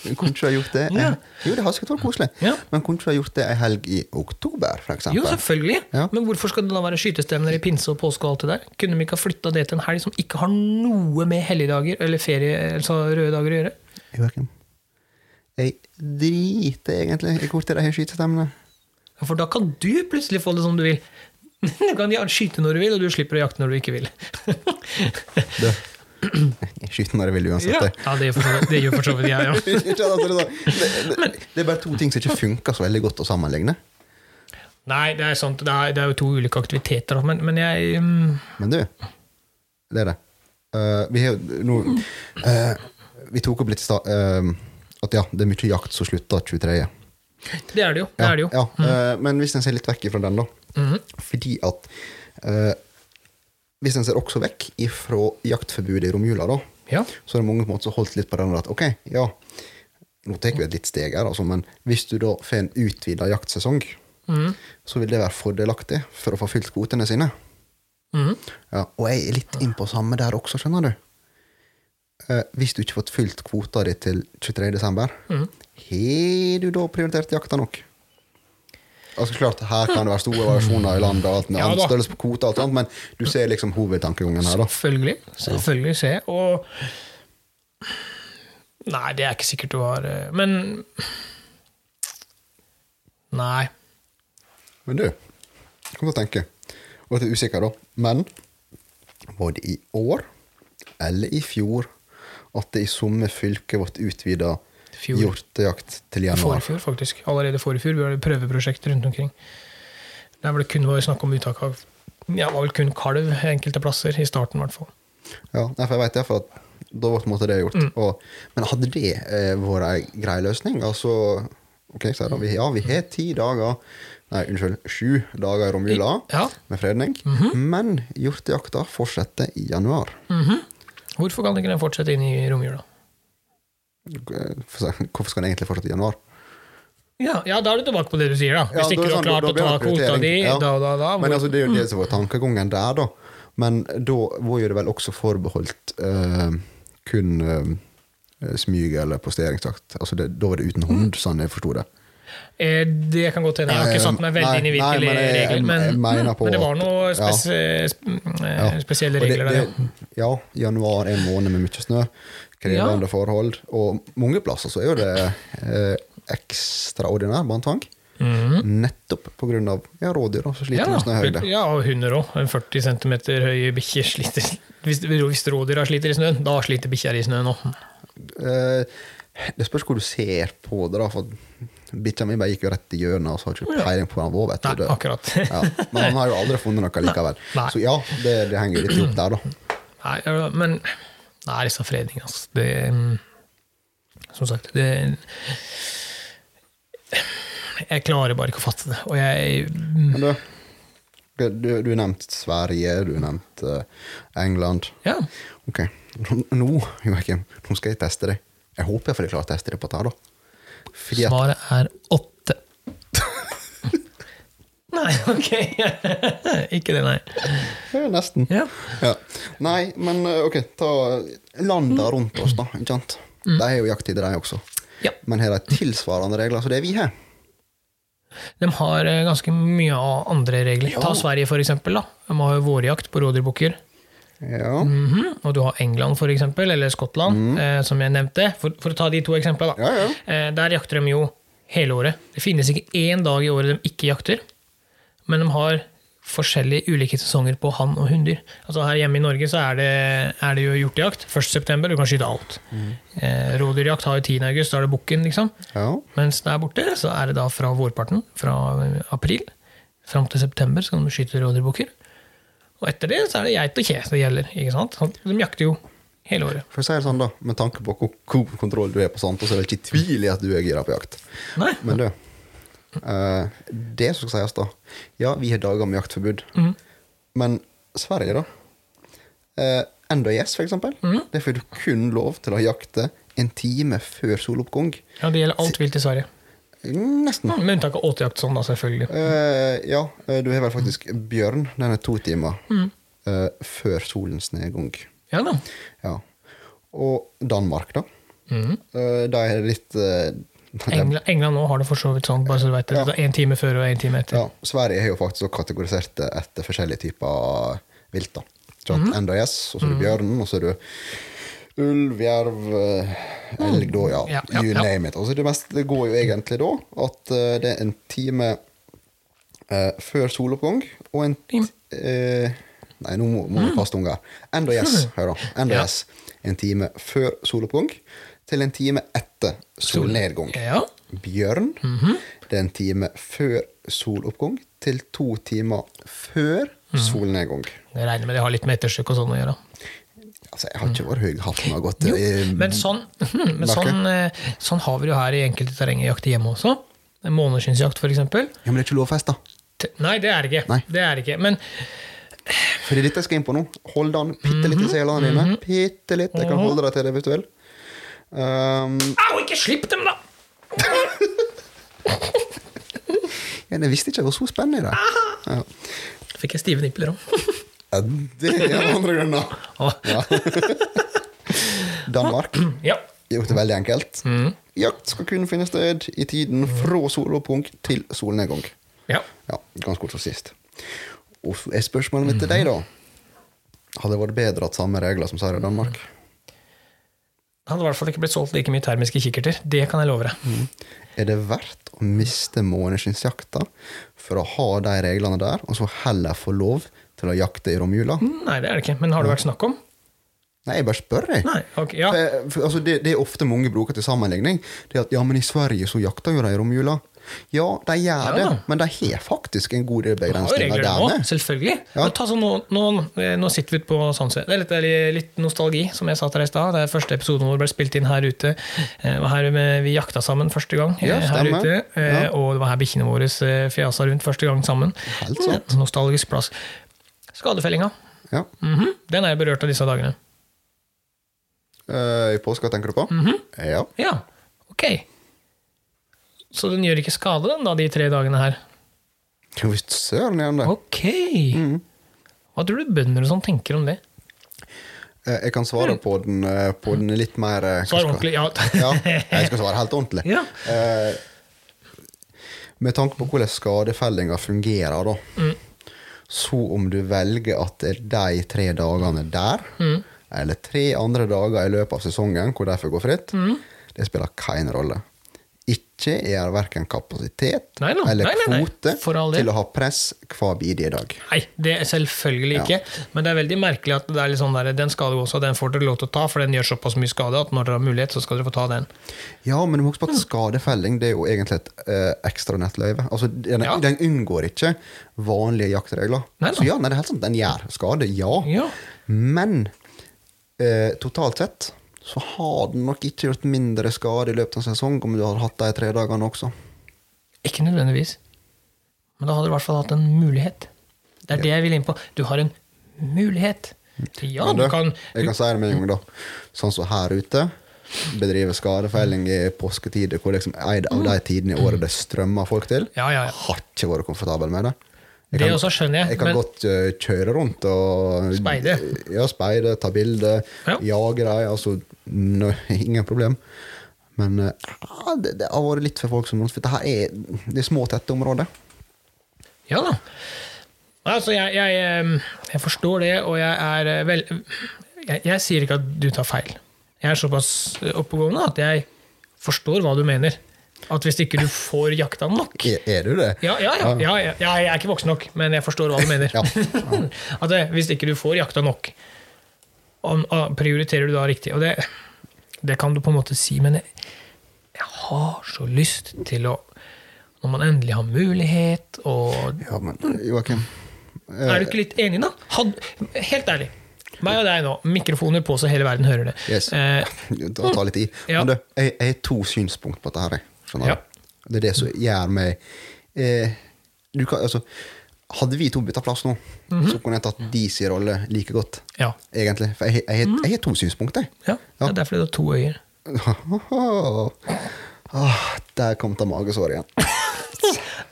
B: kunne ikke du ha gjort det?
A: Ja.
B: Jeg, jo, det har sikkert vært koselig.
A: Ja.
B: Men kunne ikke du ha gjort det ei helg i oktober, for eksempel?
A: Jo, selvfølgelig.
B: Ja.
A: Men hvorfor skal det da være skytestemner i pinse og påske og alt det der? Kunne de ikke ha flytta det til en helg som ikke har noe med helligdager eller ferie, altså røde dager å gjøre?
B: Joakim. Jeg driter egentlig i hvor til de har skytestemmene.
A: Ja, For da kan du plutselig få det som du vil. Du kan ja, skyte når du vil, og du slipper å jakte når du ikke vil.
B: Du. Jeg skyter når jeg vil uansett.
A: ja,
B: jeg.
A: det, gjør for så vidt- det gjør for så vidt jeg òg.
B: Ikke sant, altså, det, er sånn- det, det, det er bare to ting som ikke funker så veldig godt å sammenligne.
A: Nei, det er sant. Det er, det er jo to ulike aktiviteter, da, men, men jeg mm,
B: Men du, det er det. Eh, vi har jo nå eh, Vi tok opp litt i stad eh, at ja, det er mye jakt som slutter 23.
A: Det er det jo. Det er det jo. Mm. Mhm.
B: Ja, eh, men hvis en ser litt vekk ifra den, da. Fordi at eh, Hvis en ser også vekk ifra jaktforbudet i romjula, da,
A: Ja.
B: så er det mange på en måte som holdt litt på den at ok, ja, nå tar vi et litt steg her, altså, men hvis du da får en utvida jaktsesong,
A: Mm.
B: så vil det være fordelaktig for å få fylt kvotene sine.
A: Mhm.
B: Ja, og jeg er litt inn på samme der også, skjønner du. Eh, hvis du ikke fått fylt kvota di til 23. desember,
A: Mm.
B: har du da prioritert jakta nok? Altså klart, Her kan det være store variasjoner i landet, og alt med
A: Ja da.
B: annen størrelse på kvota, og alt annet, men du ser liksom hovedtankegangen her. da.
A: Selvfølgelig. Selvfølgelig ser jeg. Og Nei, det er ikke sikkert du har eh, Men Nei.
B: Men du, kom til å tenke. Og at jeg er usikker, da. Men var det i år eller i fjor at det i somme fylke ble utvida
A: Fjor.
B: hjortejakt til januar?
A: Forfjor, faktisk. Allerede forfjor. Vi har prøveprosjekter rundt omkring. Der hvor det kun var snakk om uttak av ja, det var vel kun kalv enkelte plasser. I starten, i hvert fall.
B: Ja, nei, for jeg vet det, for at da ble på en måte det gjort. Og, men hadde det eh, vært ei grei løsning? Altså, ok, så er det, vi, ja, vi har ti dager Nei, unnskyld, sju dager i romjula
A: Ja.
B: med fredning. Men hjortejakta fortsetter i januar.
A: Mm. Mhm. Hvorfor kan ikke den fortsette inn i romjula?
B: Eh, for- Hvorfor skal den egentlig fortsette i januar?
A: Ja, ja, da er du tilbake på det du sier, da.
B: Ja,
A: Hvis ikke
B: da
A: du
B: er
A: har
B: det
A: klart
B: sånn, da-
A: å
B: da
A: ta
B: blir det
A: kvota
B: prioritering.
A: di,
B: Ja.
A: da, da, da.
B: Men
A: hvor- Mm.
B: altså, det er jo det som var tankegangen der, da. Men da var jo det vel også forbeholdt eh, kun eh, smyg eller posteringsjakt. Altså det, da var det uten hund, sånn jeg forsto det.
A: Eh, Det kan godt hende. Jeg har ikke satt meg veldig
B: Eh, Nei,
A: inn i
B: nei,
A: hvilke
B: men jeg- jeg-
A: regler, men,
B: jeg mener på
A: men det var
B: at-
A: noen spes eh,
B: Og
A: spesielle
B: det-
A: regler der. ja.
B: det- Ja, januar er en måned med mye snø. Krevende forhold. Og mange plasser så er jo det eh, ekstraordinær båndtvang. Nettopp pga. Ja, rådyr da, som sliter med snøhøyde.
A: Mhm. ja, og hunder òg. 40 cm høye bikkjer sliter Hvis, hvis rådyra sliter i snøen, da sliter bikkja i snøen òg.
B: Eh, det spørs hvor du ser på det, da. For bikkja mi bare gikk jo rett i hjørnet, og så har ikke peiling på hvor han var. vet
A: Nei,
B: du. Det-
A: akkurat.
B: Ja, men han har jo aldri funnet noe likevel.
A: Nei.
B: Så ja, det, det henger jo litt opp der, da.
A: Nei, ja, men det er disse fredningene, altså. Det mm, Som sagt, det Jeg klarer bare ikke å fatte det. Og jeg mm,
B: Men du, du, du, du har nevnt Sverige, du har nevnt eh, England.
A: Ja.
B: Ok, Nå- nå Joakim, nå skal jeg teste deg. Jeg håper jeg får klart å teste deg på dette. her, da. Fordi at
A: Svaret er åtte. nei, ok. ikke det, nei.
B: Ja, Nesten.
A: Ja.
B: Ja. Nei, men eh, ok, ta landa
A: Mm.
B: rundt oss, da. ikke sant? De er jo jakttider, de også.
A: Ja.
B: Men har de tilsvarende regler som det vi har?
A: De har eh, ganske mye av andre regler.
B: Ja.
A: Ta Sverige, for eksempel. Da. De har jo vårjakt på rådyrbukker.
B: Ja.
A: Mhm. Og du har England, for eksempel, eller Skottland, eh, som jeg nevnte. For, for å ta de to eksemplene, da.
B: Ja, ja.
A: Eh, der jakter de jo hele året. Det finnes ikke én dag i året de ikke jakter. Men de har forskjellige ulike sesonger på hann og hunndyr. Altså her hjemme i Norge så er det, er det jo hjortejakt. 1.9. Du kan skyte alt. Eh, rådyrjakt har jo 10.8, da er det bukken, liksom.
B: ja.
A: Mens der borte så er det da fra vårparten, fra eh, april fram til september, så kan de skyte rådyrbukker. Og etter det så er det geit og kje det gjelder. ikke sant? Sånn, De jakter jo hele året.
B: For å si det sånn, da, med tanke på hvor god kontroll du har på sånt, så er det ikke tvil i at du er gira på jakt.
A: Nei,
B: Men du, eh, det som skal sies, da Ja, vi har dager med jaktforbud. Men Sverige, da? Uh, NDIS, for eksempel. Der får du kun lov til å jakte en time før soloppgang.
A: ja, Det gjelder alt vilt i Sverige.
B: Nesten.
A: Med unntak av åtejakt, sånn da, selvfølgelig.
B: Eh, ja, eh, du har vel faktisk bjørn. Den er to timer eh, før solens nedgang.
A: Ja da.
B: Ja. Og Danmark, da.
A: Mhm.
B: Eh, de er litt eh, de-
A: England, England nå har det for så vidt sånn, bare så du vet det. Det er én time før og én time etter.
B: ja, Sverige har jo faktisk også kategorisert det etter forskjellige typer vilt. da. Sånn,
A: Mhm.
B: NDS, og så er det bjørn, og så er det ulv, jerv, eh, elg, da, ja.
A: Mm. Ja, ja,
B: you
A: ja.
B: name it. Altså, det, mest, det går jo egentlig da at eh, det er en time eh, før soloppgang og en t- eh, Nei, nå
A: Mm.
B: må, må vi passe tunga. NDS, hør da. NDS. En time før soloppgang til en time etter solnedgang.
A: Ja.
B: Bjørn.
A: Mhm.
B: Det er en time før soloppgang til to timer før
A: Mhm.
B: solnedgang.
A: Jeg regner med det har litt med etterstykke og sånn å gjøre.
B: Altså, jeg har ikke vært høy i hatten og gått
A: Mhm.
B: eh,
A: Jo,
B: i-
A: men sånn, men
B: Bakke.
A: sånn, eh, sånn har vi det jo her i enkelte terrengjakter hjemme også. En Måneskinnsjakt, for eksempel.
B: Ja, men det er ikke lovfest, da.
A: T- Nei, det er det ikke.
B: Nei.
A: Det er det ikke. Men
B: For det er dette jeg skal inn på nå. Hold an bitte litt i
A: Mhm.
B: selene dine. Bitte litt. Jeg kan holde deg til det hvis du vil. Um,
A: Au, ikke slipp dem, da!
B: ja, jeg visste ikke det var så spennende i det. Ja.
A: Fikk jeg stive nipler òg.
B: Ja, det er andre grunner. Ja. Danmark.
A: ja.
B: Gjort det veldig enkelt.
A: Mhm.
B: Jakt skal kun finne sted i tiden fra soloppgang til solnedgang.
A: ja.
B: Ja, ganske kort som sist. Og så er spørsmålet mitt til deg, da. Hadde det vært bedre at samme regler som sier i Danmark?
A: Det hadde i hvert fall ikke blitt solgt like mye termiske kikkerter. Det kan jeg love deg.
B: Mm. Er det verdt å miste måneskinnsjakta for å ha de reglene der, og så heller få lov til å jakte i romjula?
A: Nei, det er det ikke. Men har det vært snakk om?
B: Nei, jeg bare spør, jeg.
A: Nei. ok, ja.
B: For, for, altså, det, det er ofte mange bruker til sammenligning. Det er at ja, men i Sverige så jakter jo de i romjula. Ja, de gjør det,
A: da.
B: men de har faktisk en god del
A: Det er jo
B: begrensninger
A: regler
B: der
A: nå,
B: nede.
A: selvfølgelig.
B: Ja.
A: Men Ta sånn, nå, nå, eh, nå sitter vi ute på Sandsø. Det er litt, det er litt nostalgi, som jeg sa til deg i stad. Det er første episoden vår ble spilt inn her ute. Eh, Det var her vi, vi jakta sammen første gang. eh,
B: Ja,
A: her
B: stemmer.
A: ute. Eh,
B: Ja.
A: Og det var her bikkjene våre eh, fjasa rundt første gang sammen.
B: Helt sant.
A: Eh, Nostalgisk plass. Skadefellinga.
B: Ja.
A: Mhm. Den er berørt av disse dagene.
B: Eh, I påska, tenker du på?
A: Mhm.
B: Ja.
A: Ja, ok. Så den gjør ikke skade, den, da, de tre dagene her?
B: Jo visst søren gjør den det.
A: Ok!
B: Mhm.
A: Hva tror du bønder og sånn tenker om det?
B: Eh, Jeg kan svare på den, eh, på den litt mer eh,
A: Mm.
B: hva
A: Svar
B: skal-
A: ordentlig. Ja.
B: Ja, jeg skal svare helt ordentlig.
A: Ja.
B: Eh, med tanke på hvordan skadefellinga fungerer, da,
A: Mm.
B: så om du velger at det er de tre dagene der,
A: Mm.
B: eller tre andre dager i løpet av sesongen hvor de får gå fritt,
A: Mm.
B: det spiller kein rolle. Ikke er verken kapasitet
A: Nei da,
B: eller
A: nei, nei, nei,
B: kvote
A: for all del.
B: til å ha press hver bidige dag.
A: Nei, det er selvfølgelig ikke. Men det er veldig merkelig at det er litt sånn der, den skal du også, den får dere lov til å ta, for den gjør såpass mye skade at når dere har mulighet, så skal dere få ta den.
B: Ja, men du må huske på at skadefelling det er jo egentlig et eh, ekstra nettløyve. Altså, den,
A: Ja.
B: den unngår ikke vanlige jaktregler.
A: Nei da.
B: så ja, nei, det er helt sant, den gjør skade, ja.
A: Ja.
B: Men eh, totalt sett så har den nok ikke gjort mindre skade i løpet av en sesong om du har hatt de tre dagene også.
A: Ikke nødvendigvis. Men da hadde du i hvert fall hatt en mulighet. Det er det jeg vil inn på. Du har en mulighet. Ja,
B: Men
A: du kan
B: jeg kan si det med en gang, da. Sånn som her ute. Bedrive skadefelling i påsketider, hvor liksom en av
A: Mm.
B: de tidene i året det strømmer folk til.
A: Ja, ja, ja.
B: Har ikke vært komfortabel med det.
A: Det også skjønner jeg,
B: Jeg kan
A: men-
B: godt eh, kjøre rundt og
A: Speide.
B: Ja, speide, ta bilder,
A: Ja.
B: jage dem. Altså, nø, ingen problem. Men eh, ja, det, det har vært litt for folk som For det her er, det er små, tette områder.
A: Ja da. Nei, Altså, jeg, jeg, ehm, jeg forstår det, og jeg er eh, vel jeg, jeg sier ikke at du tar feil. Jeg er såpass oppegående at jeg forstår hva du mener. At hvis ikke du får jakta nok
B: Er, er du det?
A: ja, ja, ja, ja, ja, ja, jeg er ikke voksen nok, men jeg forstår hva du mener.
B: Ja.
A: At det, hvis ikke du får jakta nok, om, ah, prioriterer du da riktig? Og det, det kan du på en måte si, men jeg, jeg har så lyst til å Når man endelig har mulighet, og
B: Ja, men Joakim eh,
A: er du ikke litt enig, da? Had, helt ærlig. Meg og deg nå. Mikrofoner på så hele verden hører det.
B: Yes.
A: Eh,
B: Ta, ta litt i.
A: Ja.
B: Men du, jeg, jeg har to synspunkt på dette. her. jeg. Skjønner
A: Ja.
B: du? Det er det som gjør meg eh, du kan, altså, Hadde vi to bytta plass nå,
A: Mhm.
B: så kunne jeg tatt de sin rolle like godt.
A: Ja.
B: Egentlig. For jeg, jeg, jeg, jeg har to synspunkt, jeg.
A: ja, Det er derfor du har to øyer.
B: Ah, der kom det magesåret igjen.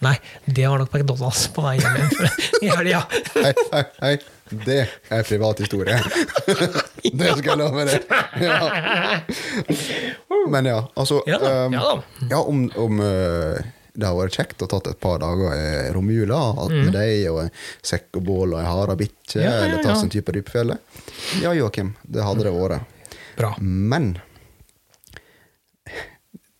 A: Nei, det var nok McDonald's på vei hjem igjen for- i helga.
B: Hei, hei, hei. Det er privat historie. Det skal jeg love deg. Ja. Men ja, altså
A: Ja da,
B: ehm,
A: ja da.
B: ja, om, om eh, det har vært kjekt å tatt et par dager i romjula alt med deg og en sekk og bål og ei hare bikkje,
A: Mm. Ja, ja,
B: eller ta
A: ja.
B: seg en type dypfelle. Ja, Joakim, det hadde det vært.
A: Bra.
B: Men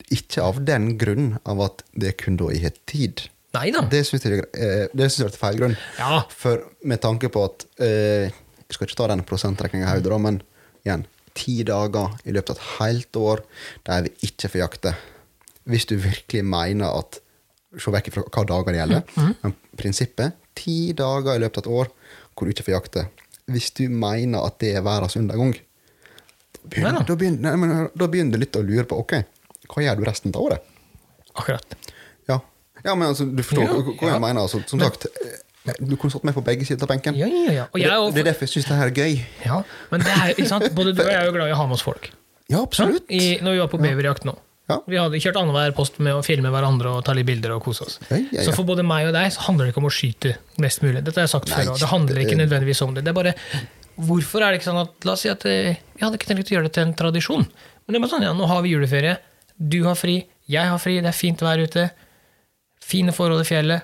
B: ikke av den grunn av at det kun da jeg har tid.
A: Nei da.
B: Det syns jeg, eh, det syns jeg er et feil grunn.
A: Ja.
B: For med tanke på at eh, Jeg skal ikke ta den prosenttrekninga i hodet, da, men igjen Ti dager i løpet av et helt år der vi ikke får jakte. Hvis du virkelig mener at Se vekk fra hva dager det gjelder,
A: Mm.
B: men prinsippet ti dager i løpet av et år hvor du ikke får jakte. Hvis du mener at det er verdens undergang, da
A: Nei da.
B: begynner, da, begynner, nei, men da begynner du litt å lure på ok, hva gjør du resten av året.
A: Akkurat.
B: Ja, ja men altså, du forstår
A: Ja,
B: hva- hva
A: ja.
B: jeg mener. Altså, som sagt, eh, du kunne satt meg på begge sider av benken.
A: Ja, ja, ja. Og jeg er jo-
B: det, det er derfor jeg syns det her er gøy.
A: Ja, men det er, ikke sant? Både du og jeg er jo glad i å ha med oss folk.
B: Ja, absolutt.
A: I, når vi var på beverjakt nå.
B: Ja.
A: Vi hadde kjørt annenhver post med å filme hverandre og ta litt bilder og kose oss.
B: Ja, ja, ja.
A: Så for både meg og deg så handler det ikke om å skyte mest mulig. Dette har jeg sagt før
B: Nei,
A: også. Det handler ikke
B: det-
A: nødvendigvis om det. Det er bare Hvorfor er det ikke sånn at La oss si at eh, vi hadde ikke tenkt å gjøre det til en tradisjon. Men det er bare sånn, ja, nå har vi juleferie. Du har fri. Jeg har fri. Det er fint vær ute. Fine forhold i fjellet.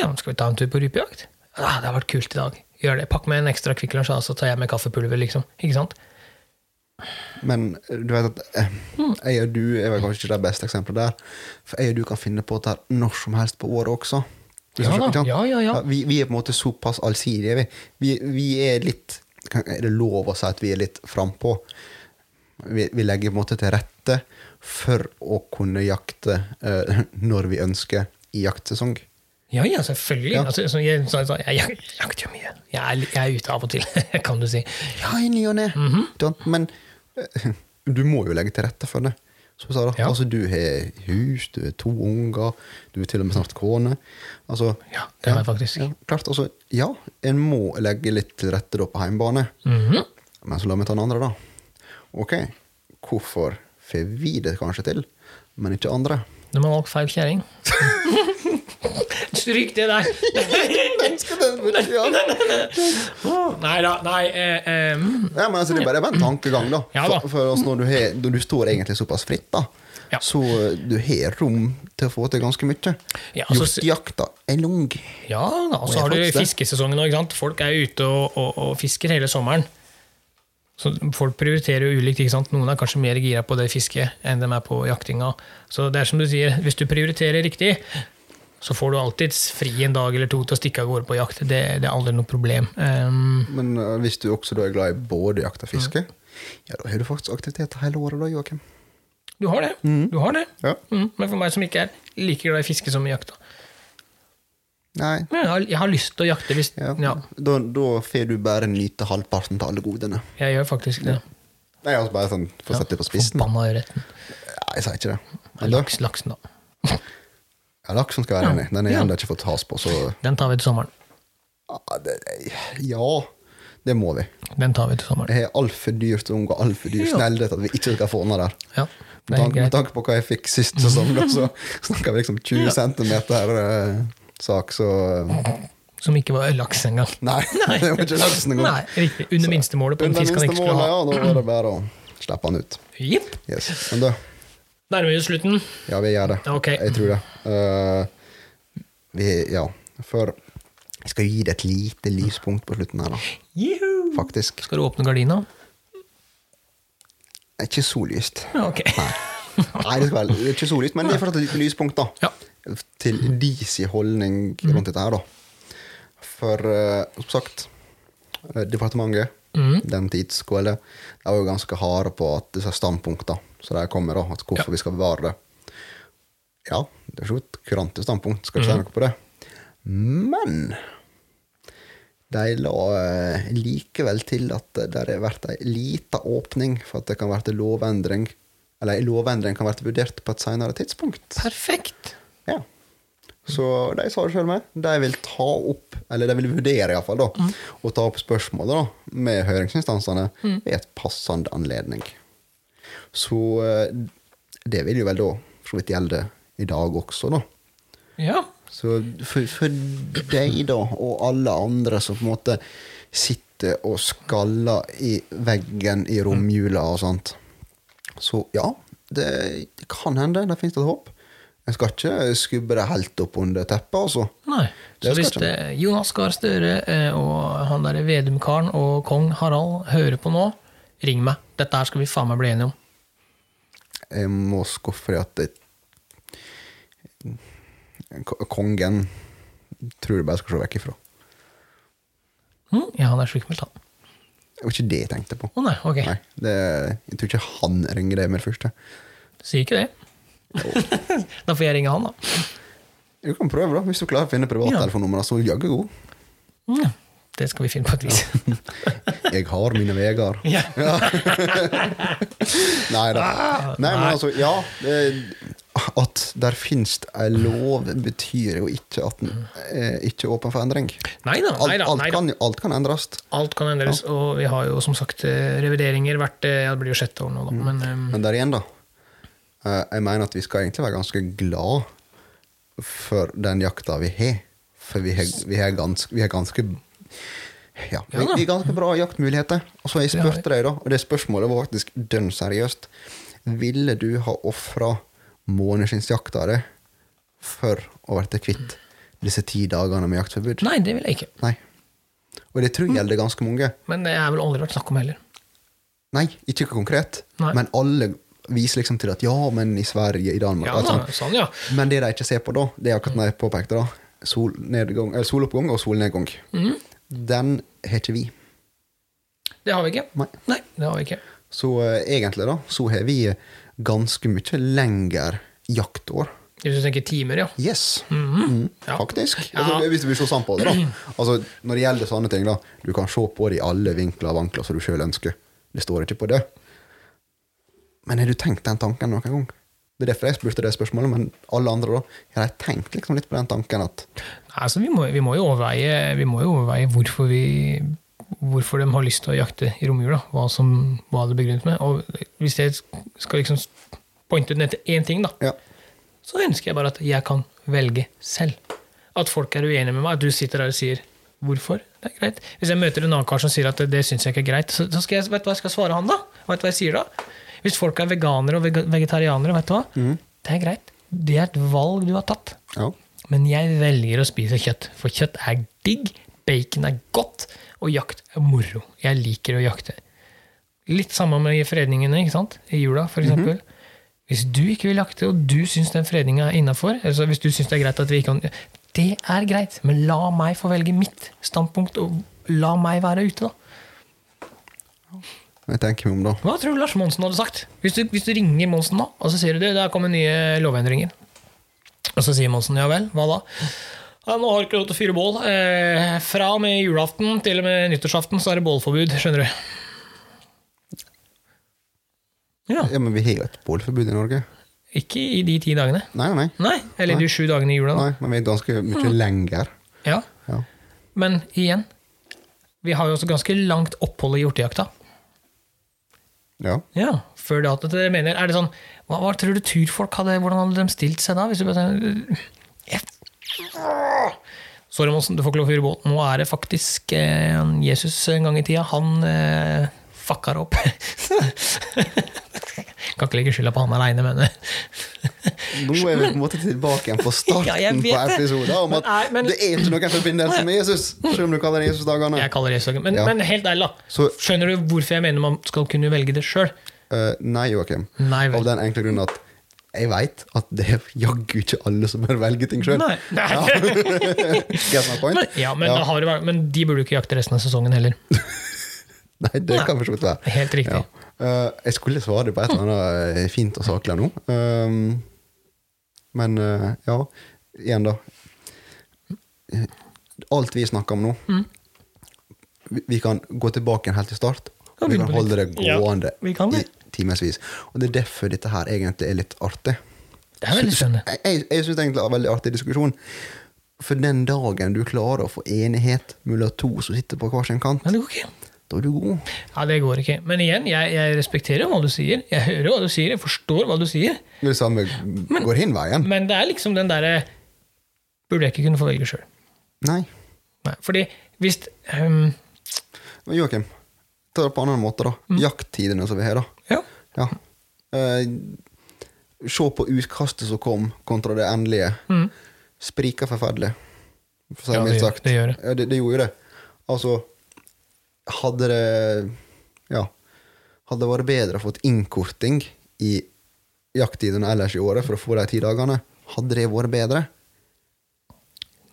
A: Ja, men skal vi ta en tur på rypejakt? Ja, det har vært kult i dag. Gjør det. Pakk med en ekstra Kvikk Lunsj, da, så tar jeg med kaffepulver, liksom. Ikke sant?
B: Men eh, du vet at eh, jeg og du er vel kanskje ikke det beste eksempelet der. For jeg og du kan finne på dette her når som helst på året også. Du
A: Ja
B: skjønner,
A: da,
B: ikke sant?
A: ja, ja, ja.
B: vi, vi er på en måte såpass allsidige, vi. Vi, vi er litt kan- Er det lov å si at vi er litt frampå? Vi, vi legger på en måte til rette for å kunne jakte eh, når vi ønsker, i jaktsesong.
A: Ja, ja, selvfølgelig.
B: Ja.
A: Altså, så jeg, så, så, jeg, jeg jakter jo mye. Jeg er, jeg er ute av og til, kan du si.
B: Ja, i ny og ne.
A: Mhm.
B: Don't- Men eh, du må jo legge til rette for det. Som jeg sa da,
A: Ja.
B: altså Du har hus, du har to unger, du er til og med snart kone. Altså,
A: Ja, det har jeg faktisk.
B: Ja, klart, altså, ja, en må legge litt til rette da på hjemmebane.
A: Mhm.
B: Men så la meg ta den andre, da. Ok, hvorfor får vi det kanskje til, men ikke andre?
A: Når man valgt feil kjerring. Stryk det der! Nei da, nei eh, eh, mm.
B: Ja, men altså, det er bare en tankegang, da.
A: Ja, da.
B: For, for altså, når, du har, når du står egentlig såpass fritt, da,
A: Ja.
B: så eh, du har rom til å få til ganske mye.
A: Ja, altså,
B: Hjortejakta er lang.
A: Ja da, og
B: Og jeg
A: så har du
B: faktisk det.
A: fiskesesongen òg, ikke sant. Folk er ute og, og, og fisker hele sommeren. Så folk prioriterer jo ulikt. ikke sant? Noen er kanskje mer gira på det fisket enn de er på jaktinga. Så det er som du sier, hvis du prioriterer riktig, så får du alltids fri en dag eller to til å stikke av gårde på jakt. Det, det er aldri noe problem. Ehm,
B: Men eh, hvis du også da er glad i både jakt og fiske, ja, da har du faktisk aktivitet hele året, da, Joakim.
A: du har det.
B: Mhm.
A: Du har det.
B: Ja.
A: Mm, men for meg som ikke er like glad i fiske som i jakta
B: Nei.
A: Men jeg har, jeg har lyst til å jakte hvis
B: Ja.
A: Ja,
B: Da, da får du bare nyte halvparten av alle godene.
A: jeg gjør faktisk det.
B: Nei, altså bare sånn, for å sette det på spissen.
A: Forbanna ørreten.
B: Nei, jeg sier ikke det. Men da,
A: Laks, laksen, da.
B: Ja, laksen skal være
A: Ja.
B: enig. Den har jeg
A: Ja.
B: ennå ikke fått has på, så
A: Den tar vi til sommeren.
B: ja det, ja, det må vi.
A: Den tar vi til sommeren.
B: Jeg er altfor dyr til å unngå altfor dyr
A: Ja.
B: snillhet at vi ikke skal få den der.
A: Ja,
B: Med
A: det er
B: tanke,
A: greit.
B: med tanke på hva jeg fikk sist sesong, da, så snakker vi liksom 20 centimeter eh, sak, så eh,
A: Som ikke var laks engang.
B: Nei, det var ikke laksen engang.
A: Nei, riktig. Under minstemålet på den
B: Under
A: fisken han ikke skulle
B: minstemålet,
A: ha.
B: Ja, da var det bare å slippe han ut.
A: Jipp.
B: Yes. Men da,
A: Nærmer vi oss slutten.
B: ja, vi gjør det.
A: Ok.
B: Jeg tror det. Eh, vi, ja, for jeg skal gi det et lite lyspunkt på slutten her, da.
A: Juhu!
B: Faktisk.
A: Skal du åpne gardina?
B: Ikke så lyst.
A: Ja, ok.
B: Nei, det skal være det er ikke så lyst, men det er fortsatt et lite lyspunkt, da.
A: Ja.
B: Til deres holdning rundt dette her, da. For eh, som sagt, eh, departementet, den tidsskåla, de var jo ganske harde på at disse standpunktene så de kommer, da, at hvorfor vi skal bevare det. Ja, det er jo et kurante standpunkt, skal ikke si noe på det. Men de la eh, likevel til at det har vært ei lita åpning for at det kan være til lovendring. Eller ei lovendring kan være vurdert på et seinere tidspunkt.
A: Perfekt.
B: Ja. Så de sa det sjøl med. De vil ta opp, eller de vil vurdere iallfall, da, å ta opp spørsmålet da, med høringsinstansene ved et passende anledning. Så eh, det vil jo vel da for så vidt gjelde i dag også, da.
A: Ja.
B: Så for, for deg, da, og alle andre som på en måte sitter og skaller i veggen i romjula og sånt, så ja, det, det kan hende. Det fins et håp. En skal ikke skubbe det helt opp under teppet, altså.
A: Nei. Så
B: Det skal
A: hvis
B: ikke
A: det, Jonas Gahr Støre eh, og han derre Vedum-karen og kong Harald hører på nå, ring meg. Dette her skal vi faen meg bli enige om.
B: Jeg må skuffe deg at det, K- kongen tror jeg bare skal se vekk ifra.
A: Hm? Ja, han er sjukmeldt, han.
B: Det var ikke det jeg tenkte på.
A: Å nei, ok.
B: Nei, det, jeg tror ikke han ringer deg med det første.
A: Sier ikke det. da får jeg ringe han, da.
B: Du kan prøve, da. Hvis du klarer å finne privattelefonnummer, så jaggu god.
A: Mm. Det skal vi finne på et vis.
B: Jeg har mine veier.
A: Ja.
B: Nei da. Nei, men altså, ja. eh, At der finnes ei lov, betyr jo ikke at den eh, ikke er åpen for endring.
A: Nei da, nei
B: Alt,
A: da.
B: alt,
A: Nei da.
B: kan, alt kan endres.
A: Alt kan endres, og vi har jo som sagt eh, revideringer hvert eh, ja, Det blir jo sjette år nå, da. Men eh,
B: Mm. Men der igjen, da. eh, Jeg mener at vi skal egentlig være ganske glad for den jakta vi har. For vi har, vi har, ganske, vi har ganske ja, vi, vi har ganske bra jaktmuligheter. Og så har jeg
A: Det har
B: spurt deg, da, og det spørsmålet var faktisk dønn seriøst. Ville du ha ofra måneskinnsjakta di for å bli kvitt disse ti dagene med jaktforbud?
A: nei, det vil jeg ikke.
B: Nei. Og det tror jeg gjelder ganske mange.
A: Men det er vel aldri vært snakk om heller.
B: Nei, ikke konkret.
A: Nei.
B: Men alle viser liksom til at ja, men i Sverige, i Danmark
A: Ja,
B: alt
A: da,
B: sånt.
A: sånn, ja.
B: Men det de ikke ser på da, det er akkurat når jeg påpekte da, solnedgang, eh, soloppgang og solnedgang.
A: Mhm.
B: Den har ikke vi.
A: Det har vi ikke.
B: Nei.
A: Nei, det har vi ikke.
B: Så eh, egentlig da, så har vi ganske mye lengre jaktår.
A: Hvis du tenker timer, ja.
B: Yes, Mm,
A: Mhm. Ja.
B: faktisk.
A: Ja.
B: Altså, hvis du vil se sånn på det, da. Altså, når det gjelder sånne ting, da, du kan se på det i alle vinkler og vankler som du sjøl ønsker. Det står ikke på det. Men har du tenkt den tanken noen gang? Det er derfor jeg spurte det spørsmålet, men alle andre da, har de tenkt liksom litt på den tanken at
A: Nei, Altså, vi, må, vi, må jo overveie, vi må jo overveie hvorfor vi Hvorfor de har lyst til å jakte i romjula. Hva, som, hva det er begrunnet med. Og hvis jeg skal liksom pointe ut ned til én ting, da,
B: ja,
A: så ønsker jeg bare at jeg kan velge selv. At folk er uenige med meg, at du sitter der og sier 'hvorfor'? Det er greit. Hvis jeg møter en annen kar som sier at 'det syns jeg ikke er greit', så, så skal jeg, vet du hva jeg skal svare han da? Vet du hva jeg sier da? Hvis folk er veganere og vega- vegetarianere, vet du hva? Det er greit. Det er et valg du har tatt.
B: ja,
A: Men jeg velger å spise kjøtt, for kjøtt er digg, bacon er godt, og jakt er moro. Jeg liker å jakte. Litt samme med fredningene ikke sant? i jula, for eksempel. Hvis du ikke vil jakte, og du syns den fredninga er innafor, altså hvis du syns det er greit at vi ikke kan Det er greit, men la meg få velge mitt standpunkt, og la meg være ute, da.
B: jeg tenker meg om da.
A: Hva tror du Lars Monsen hadde sagt? Hvis du, hvis du ringer Monsen nå, og så sier du det, der kommer nye lovendringer. Og så sier Monsen ja vel, hva da? Ja, nå har jeg ikke lov til å fyre bål. Eh, fra og med julaften til og med nyttårsaften så er det bålforbud, skjønner du. Ja,
B: Ja, men vi har jo et bålforbud i Norge.
A: Ikke i de ti dagene.
B: Nei, nei.
A: Nei, eller de sju dagene i jula. Da.
B: nei men vi er ganske mye lenger.
A: Ja.
B: Ja.
A: Men igjen, vi har jo også ganske langt opphold i hjortejakta.
B: ja.
A: Ja, før det at dere mener, er det sånn, hva, hva tror du turfolk hadde, hvordan hadde de stilt seg da? Hvis du bare sier, jeg- Sorry, Monsen, du får ikke lov å fyre båt. Nå er det faktisk eh, Jesus en gang i tida. Han eh, fucka det opp. kan ikke legge skylda på han aleine, mener jeg.
B: Nå er vi på en måte tilbake igjen på starten
A: Ja, jeg vet
B: på
A: det.
B: episoden om at
A: Men er- men-
B: det er ikke noen forbindelse med Jesus, selv om du kaller det Jesus-dagene.
A: Jeg kaller det Jesus. Men,
B: Ja.
A: men helt ærlig, da.
B: Så-
A: Skjønner du hvorfor jeg mener man skal kunne velge det sjøl?
B: Eh, nei, Joakim.
A: Nei vel.
B: Av den enkle grunnen at jeg veit at det er jaggu ikke alle som bør velge ting sjøl.
A: Nei.
B: Ja. Get my point?
A: Men, ja, men, Da har det vært, men de burde jo ikke jakte resten av sesongen heller.
B: Nei, det kan for så vidt være.
A: Helt riktig.
B: Ja. Eh, jeg skulle svare på et eller annet eh, fint og saklig nå. Um, men eh, ja, igjen, da. Eh, Alt vi snakker om nå
A: Mm.
B: vi, vi kan gå tilbake igjen helt til start.
A: Ja,
B: vi
A: begynne
B: kan
A: på
B: holde det
A: nytt. Ja,
B: gående
A: vi kan
B: i
A: det.
B: timevis. Og det er derfor dette her egentlig er litt artig.
A: Det er veldig spennende.
B: Jeg, jeg, jeg syns egentlig det er en veldig artig diskusjon. For den dagen du klarer å få enighet mellom to som sitter på hver sin kant,
A: Men det går ikke.
B: da er du god.
A: Ja, det går ikke. Men igjen, jeg, jeg respekterer hva du sier. Jeg hører hva du sier, jeg forstår hva du sier.
B: Det samme går hin veien.
A: Men det er liksom den derre Burde jeg ikke kunne få velge sjøl?
B: Nei.
A: Fordi hvis ehm,
B: Men Joakim, ta det på en annen måte, da.
A: Mm.
B: Jakttidene som vi har, da.
A: Ja.
B: Ja. Eh, se på utkastet som kom, kontra det endelige. Spriker forferdelig.
A: Mm. Ja,
B: For å si det
A: det
B: mildt
A: gjør-
B: sagt.
A: det gjør det.
B: Ja, det, det gjorde jo det. Altså, hadde det Ja. Hadde det vært bedre å fått innkorting i jakttidene ellers i året for å få de ti dagene, hadde det vært bedre?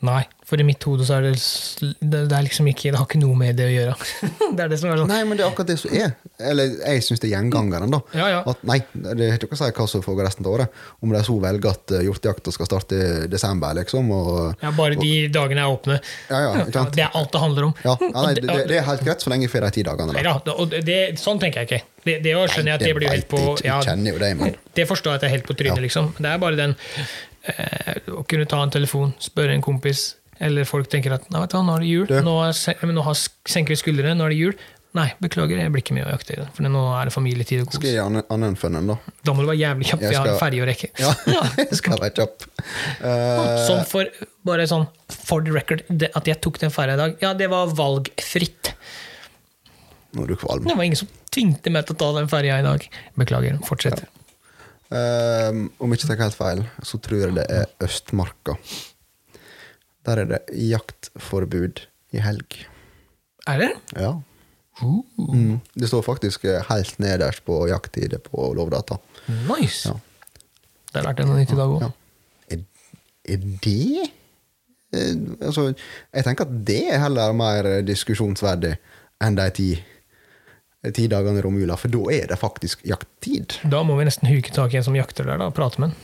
A: Nei. For i mitt hode så er det, s- det, det er liksom ikke Det har ikke noe med det å gjøre. det er det som er sånn.
B: Nei, men det er akkurat det som er. Eller jeg syns det er gjengangeren, da.
A: Ja, ja.
B: At nei, det har ikke noe å si hva som foregår resten av året. Om de så velger at eh, hjortejakta skal starte i desember, liksom. Og,
A: Ja, bare de dagene er åpne.
B: ja, ja, ikke sant?
A: Det er alt det handler om.
B: Ja, ja, nei,
A: Og
B: det, det er helt greit så lenge vi får de ti dagene.
A: Nei
B: Da.
A: da, det- og det, sånn tenker jeg ikke. Det, det jo skjønner jeg at det blir jo helt på
B: vet jeg ikke,
A: ja,
B: Jeg kjenner jo deg, men
A: Det forstår jeg at jeg er helt på trynet, liksom. Det er bare den eh, å kunne ta en telefon, spørre en kompis, eller folk tenker at Nei, vet du, hva, nå er det jul,
B: Du.
A: nå, er, sen- men nå har, senker vi skuldrene, nå er det jul. Nei, beklager, jeg blir ikke med og jakter i det, for nå er det familietid og
B: skal
A: kos.
B: jeg gi annen- annen fun enn da?
A: Da må du være jævlig kjapp,
B: Jeg
A: vi har en
B: skal-
A: ferge å rekke.
B: Ja,
A: Ja. Ah,
B: jeg skal være kjapp. Eh,
A: Som for bare sånn for the record, det, at jeg tok den ferja i dag, ja, det var valgfritt.
B: nå er du kvalm.
A: Det var ingen som tvingte meg til å ta den ferja i dag. Beklager, fortsett.
B: Eh, om jeg ikke tar helt feil, så tror jeg det er Østmarka. Der er det jaktforbud i helg.
A: Er det? Uh,
B: Ja. Mm. Det står faktisk eh, helt nederst på jakttider på Lovdata.
A: Nice!
B: Ja.
A: Det har vært en nytt i dag òg.
B: Ja. Er, er det eh, Altså, jeg tenker at det er heller mer eh, diskusjonsverdig enn de ti, ti dagene i romjula, for da er det faktisk jakttid.
A: Da må vi nesten huke tak i en som jakter der, da, og prate med en.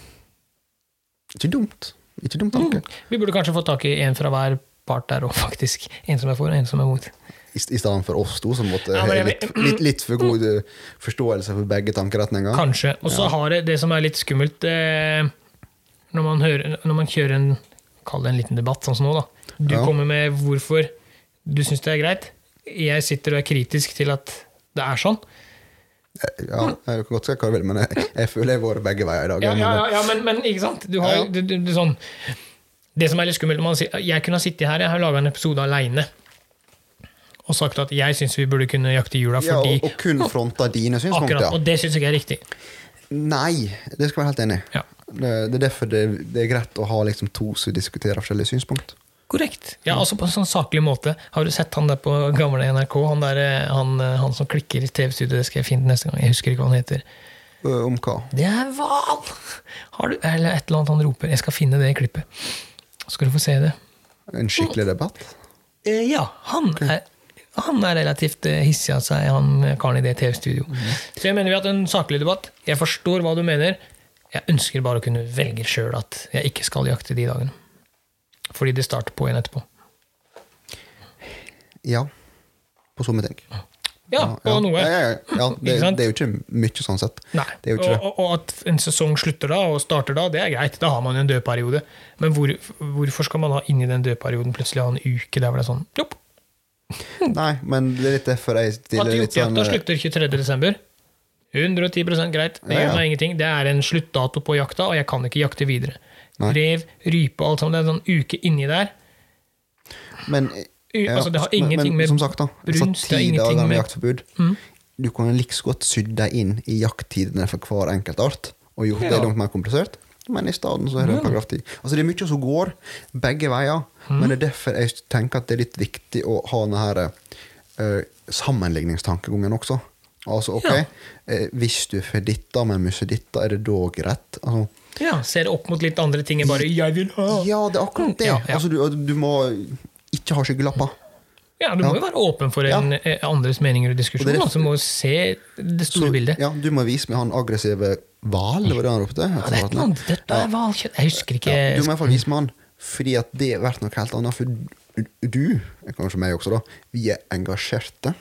B: Ikke dumt. Ikke dum tanke.
A: Vi burde kanskje få tak i en fra hver part der òg, faktisk. En som er for, og en som er mot.
B: I, I stedet for oss to, som måtte
A: Ja,
B: ha
A: men jeg Mm.
B: litt, litt, litt for god eh, forståelse for begge tankeretninger.
A: Kanskje. Og så har det det som er litt skummelt eh, når, man hører, når man kjører en Kall det en liten debatt, sånn som nå, da. Du
B: Ja.
A: kommer med hvorfor du syns det er greit. Jeg sitter og er kritisk til at det er sånn.
B: Ja, jeg kan godt si hva jeg vil, men jeg, jeg føler jeg har vært begge veier i dag.
A: Mm. Ja,
B: men-
A: ja, ja, ja men, men ikke sant? Du har,
B: Ja, ja.
A: Du, du, du, sånn, det som er litt skummelt man sier, Jeg kunne ha sittet her, jeg har laga en episode aleine og sagt at jeg syns vi burde kunne jakte jula
B: Ja,
A: fordi
B: og, og kun fronta dine synspunkter.
A: Akkurat, Og det syns jeg er riktig.
B: Nei, det skal jeg være helt enig i.
A: Ja.
B: Det, det er derfor det, det er greit å ha liksom to som diskuterer forskjellige synspunkt.
A: Korrekt. Ja, altså På en sånn saklig måte. Har du sett han der på gamle NRK? Han, der, eh, han, eh, han som klikker i TV-studio, det skal jeg finne neste gang. Jeg husker ikke hva han heter.
B: Ø, om hva?
A: Det er hval! Har du Eller et eller annet han roper. Jeg skal finne det i klippet. Så skal du få se det.
B: En skikkelig debatt?
A: Eh, ja, han er, han er relativt eh, hissig av seg, han eh, karen i det TV-studio.
B: Mhm.
A: Så jeg mener vi har hatt en saklig debatt. Jeg forstår hva du mener. Jeg ønsker bare å kunne velge sjøl at jeg ikke skal jakte de dagene. Fordi det starter på igjen etterpå.
B: Ja. På somme ting.
A: Ja, og noe.
B: Ja, ja, ja, ja. Det,
A: Ikke sant?
B: det er jo ikke mye sånn sett.
A: Nei.
B: Det er jo
A: og,
B: ikke det.
A: og, og at en sesong slutter da, og starter da, det er greit. Da har man jo en dødperiode. Men hvor, hvorfor skal man da inni den dødperioden plutselig ha en uke der hvor det er sånn jopp,
B: Nei, men det er litt derfor jeg
A: At
B: stiller litt sånn
A: hjortejakta
B: eh,
A: slutter 23.12. 110 greit. Det
B: Ja,
A: gjør
B: ja.
A: meg ingenting. Det er en sluttdato på jakta, og jeg kan ikke jakte videre.
B: Nei.
A: Rev, rype, alt sammen. Det er en sånn uke inni der.
B: Men,
A: U- altså, det har
B: men-
A: ingenting
B: men,
A: med
B: som sagt da,
A: brunst, det
B: altså,
A: har
B: ti
A: ingenting
B: dager med
A: med- Mm.
B: jaktforbud. Du kan like så godt sydd dem inn i jakttidene for hver enkelt art, og gjort det
A: Ja.
B: langt mer komplisert. Men i stedet så er det paragraf 10. Altså, det er mye som går begge veier,
A: Mm.
B: men det er derfor jeg tenker at det er litt viktig å ha denne her, eh, sammenligningstankegangen også. Altså, ok,
A: Ja.
B: eh, hvis du får dette, men musse dette, er det da greit? Altså,
A: Ja, Ser opp mot litt andre ting enn bare 'jeg vil ha'.
B: ja, det er akkurat det.
A: Mm. Ja, ja.
B: Altså, du, du må ikke ha skyggelapper.
A: Ja, Du må jo være åpen for en, eh, andres meninger og diskusjon.
B: Og det er-
A: altså, Du må jo se det store
B: Så-
A: bildet.
B: Ja, du må vise meg han aggressive hval, var det han ropte?
A: Ja, det er et eller annet dødt av hvalkjøtt Jeg husker ikke
B: Ja, du må i hvert fall vise meg han, fordi at det er verdt noe helt annet. For du, kanskje meg også, da, vi er engasjerte,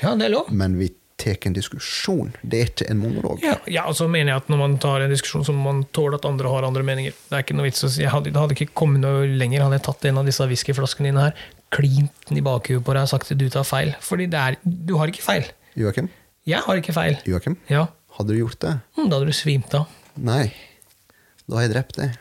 A: Ja, det er lov.
B: men vi tar en diskusjon. Det er ikke en monolog.
A: Ja, ja, og så mener jeg at når man tar en diskusjon, så må man tåle at andre har andre meninger. Det er ikke noe vits å si. Jeg hadde, det hadde ikke kommet noe lenger hadde jeg tatt en av disse whiskyflaskene dine her, klint den i bakhuet på deg og sagt at du tar feil. Fordi det er, du har ikke feil.
B: Joakim,
A: Jeg har ikke feil.
B: Joakim,
A: Ja,
B: hadde du gjort det?
A: hm, Da hadde du svimt av.
B: Nei. Da har jeg drept deg.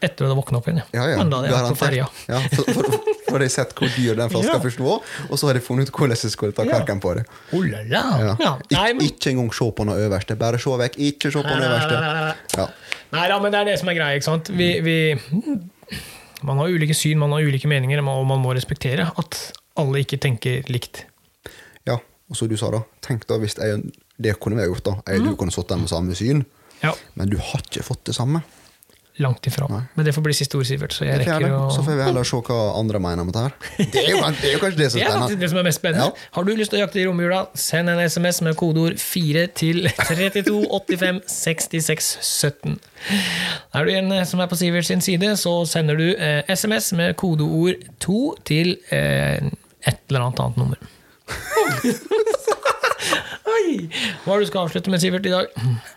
A: Etter du hadde våkna opp igjen.
B: Ja, ja.
A: Men da hadde jeg vært på ferja.
B: Garantert. Ja, for, for, for, for jeg har sett hvor dyr den flaska
A: Ja.
B: først var, og så har jeg funnet ut hvordan jeg skulle ta
A: Ja.
B: kverken på det.
A: Oh, la, la. Ja.
B: Ja.
A: Nei,
B: Ik
A: men,
B: ikke engang se på noe øverste. Bare se vekk. Ikke se på noe øverste. Ja.
A: nei da, men det er det som er greia, ikke sant. Vi, vi, man har ulike syn, man har ulike meninger, og man må respektere at alle ikke tenker likt.
B: ja. Og så du sa da, tenk da hvis jeg, det kunne vi ha gjort da, jeg,
A: Mm.
B: du kunne satt der med samme syn,
A: Ja.
B: men du har ikke fått det samme.
A: Langt ifra. Men det får bli siste ord, Sivert. Så jeg
B: Det
A: rekker
B: fjerde.
A: å
B: Så får vi heller se hva andre mener om dette her. Det er jo, det er jo kanskje det som
A: det
B: er
A: er faktisk
B: spennende.
A: det som er mest spennende.
B: Ja.
A: Har du lyst til å jakte i romjula, send en SMS med kodeord 4 til 32 85 66 17. Er du en eh, som er på Sivert sin side, så sender du eh, SMS med kodeord 2 til eh, et eller annet annet nummer. Oi. Hva er det du skal avslutte med, Sivert, i dag?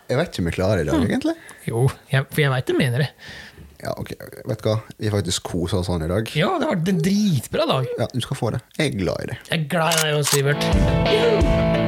B: Jeg vet ikke om jeg klarer det i dag,
A: Mm.
B: egentlig.
A: Jo, jeg, for jeg veit du mener det.
B: Ja, ok. Vet du hva? Vi faktisk koser oss sånn i dag.
A: Ja, det har vært en dritbra dag.
B: Ja, du skal få det. Jeg er glad i det.
A: Jeg er glad i deg òg, Sivert.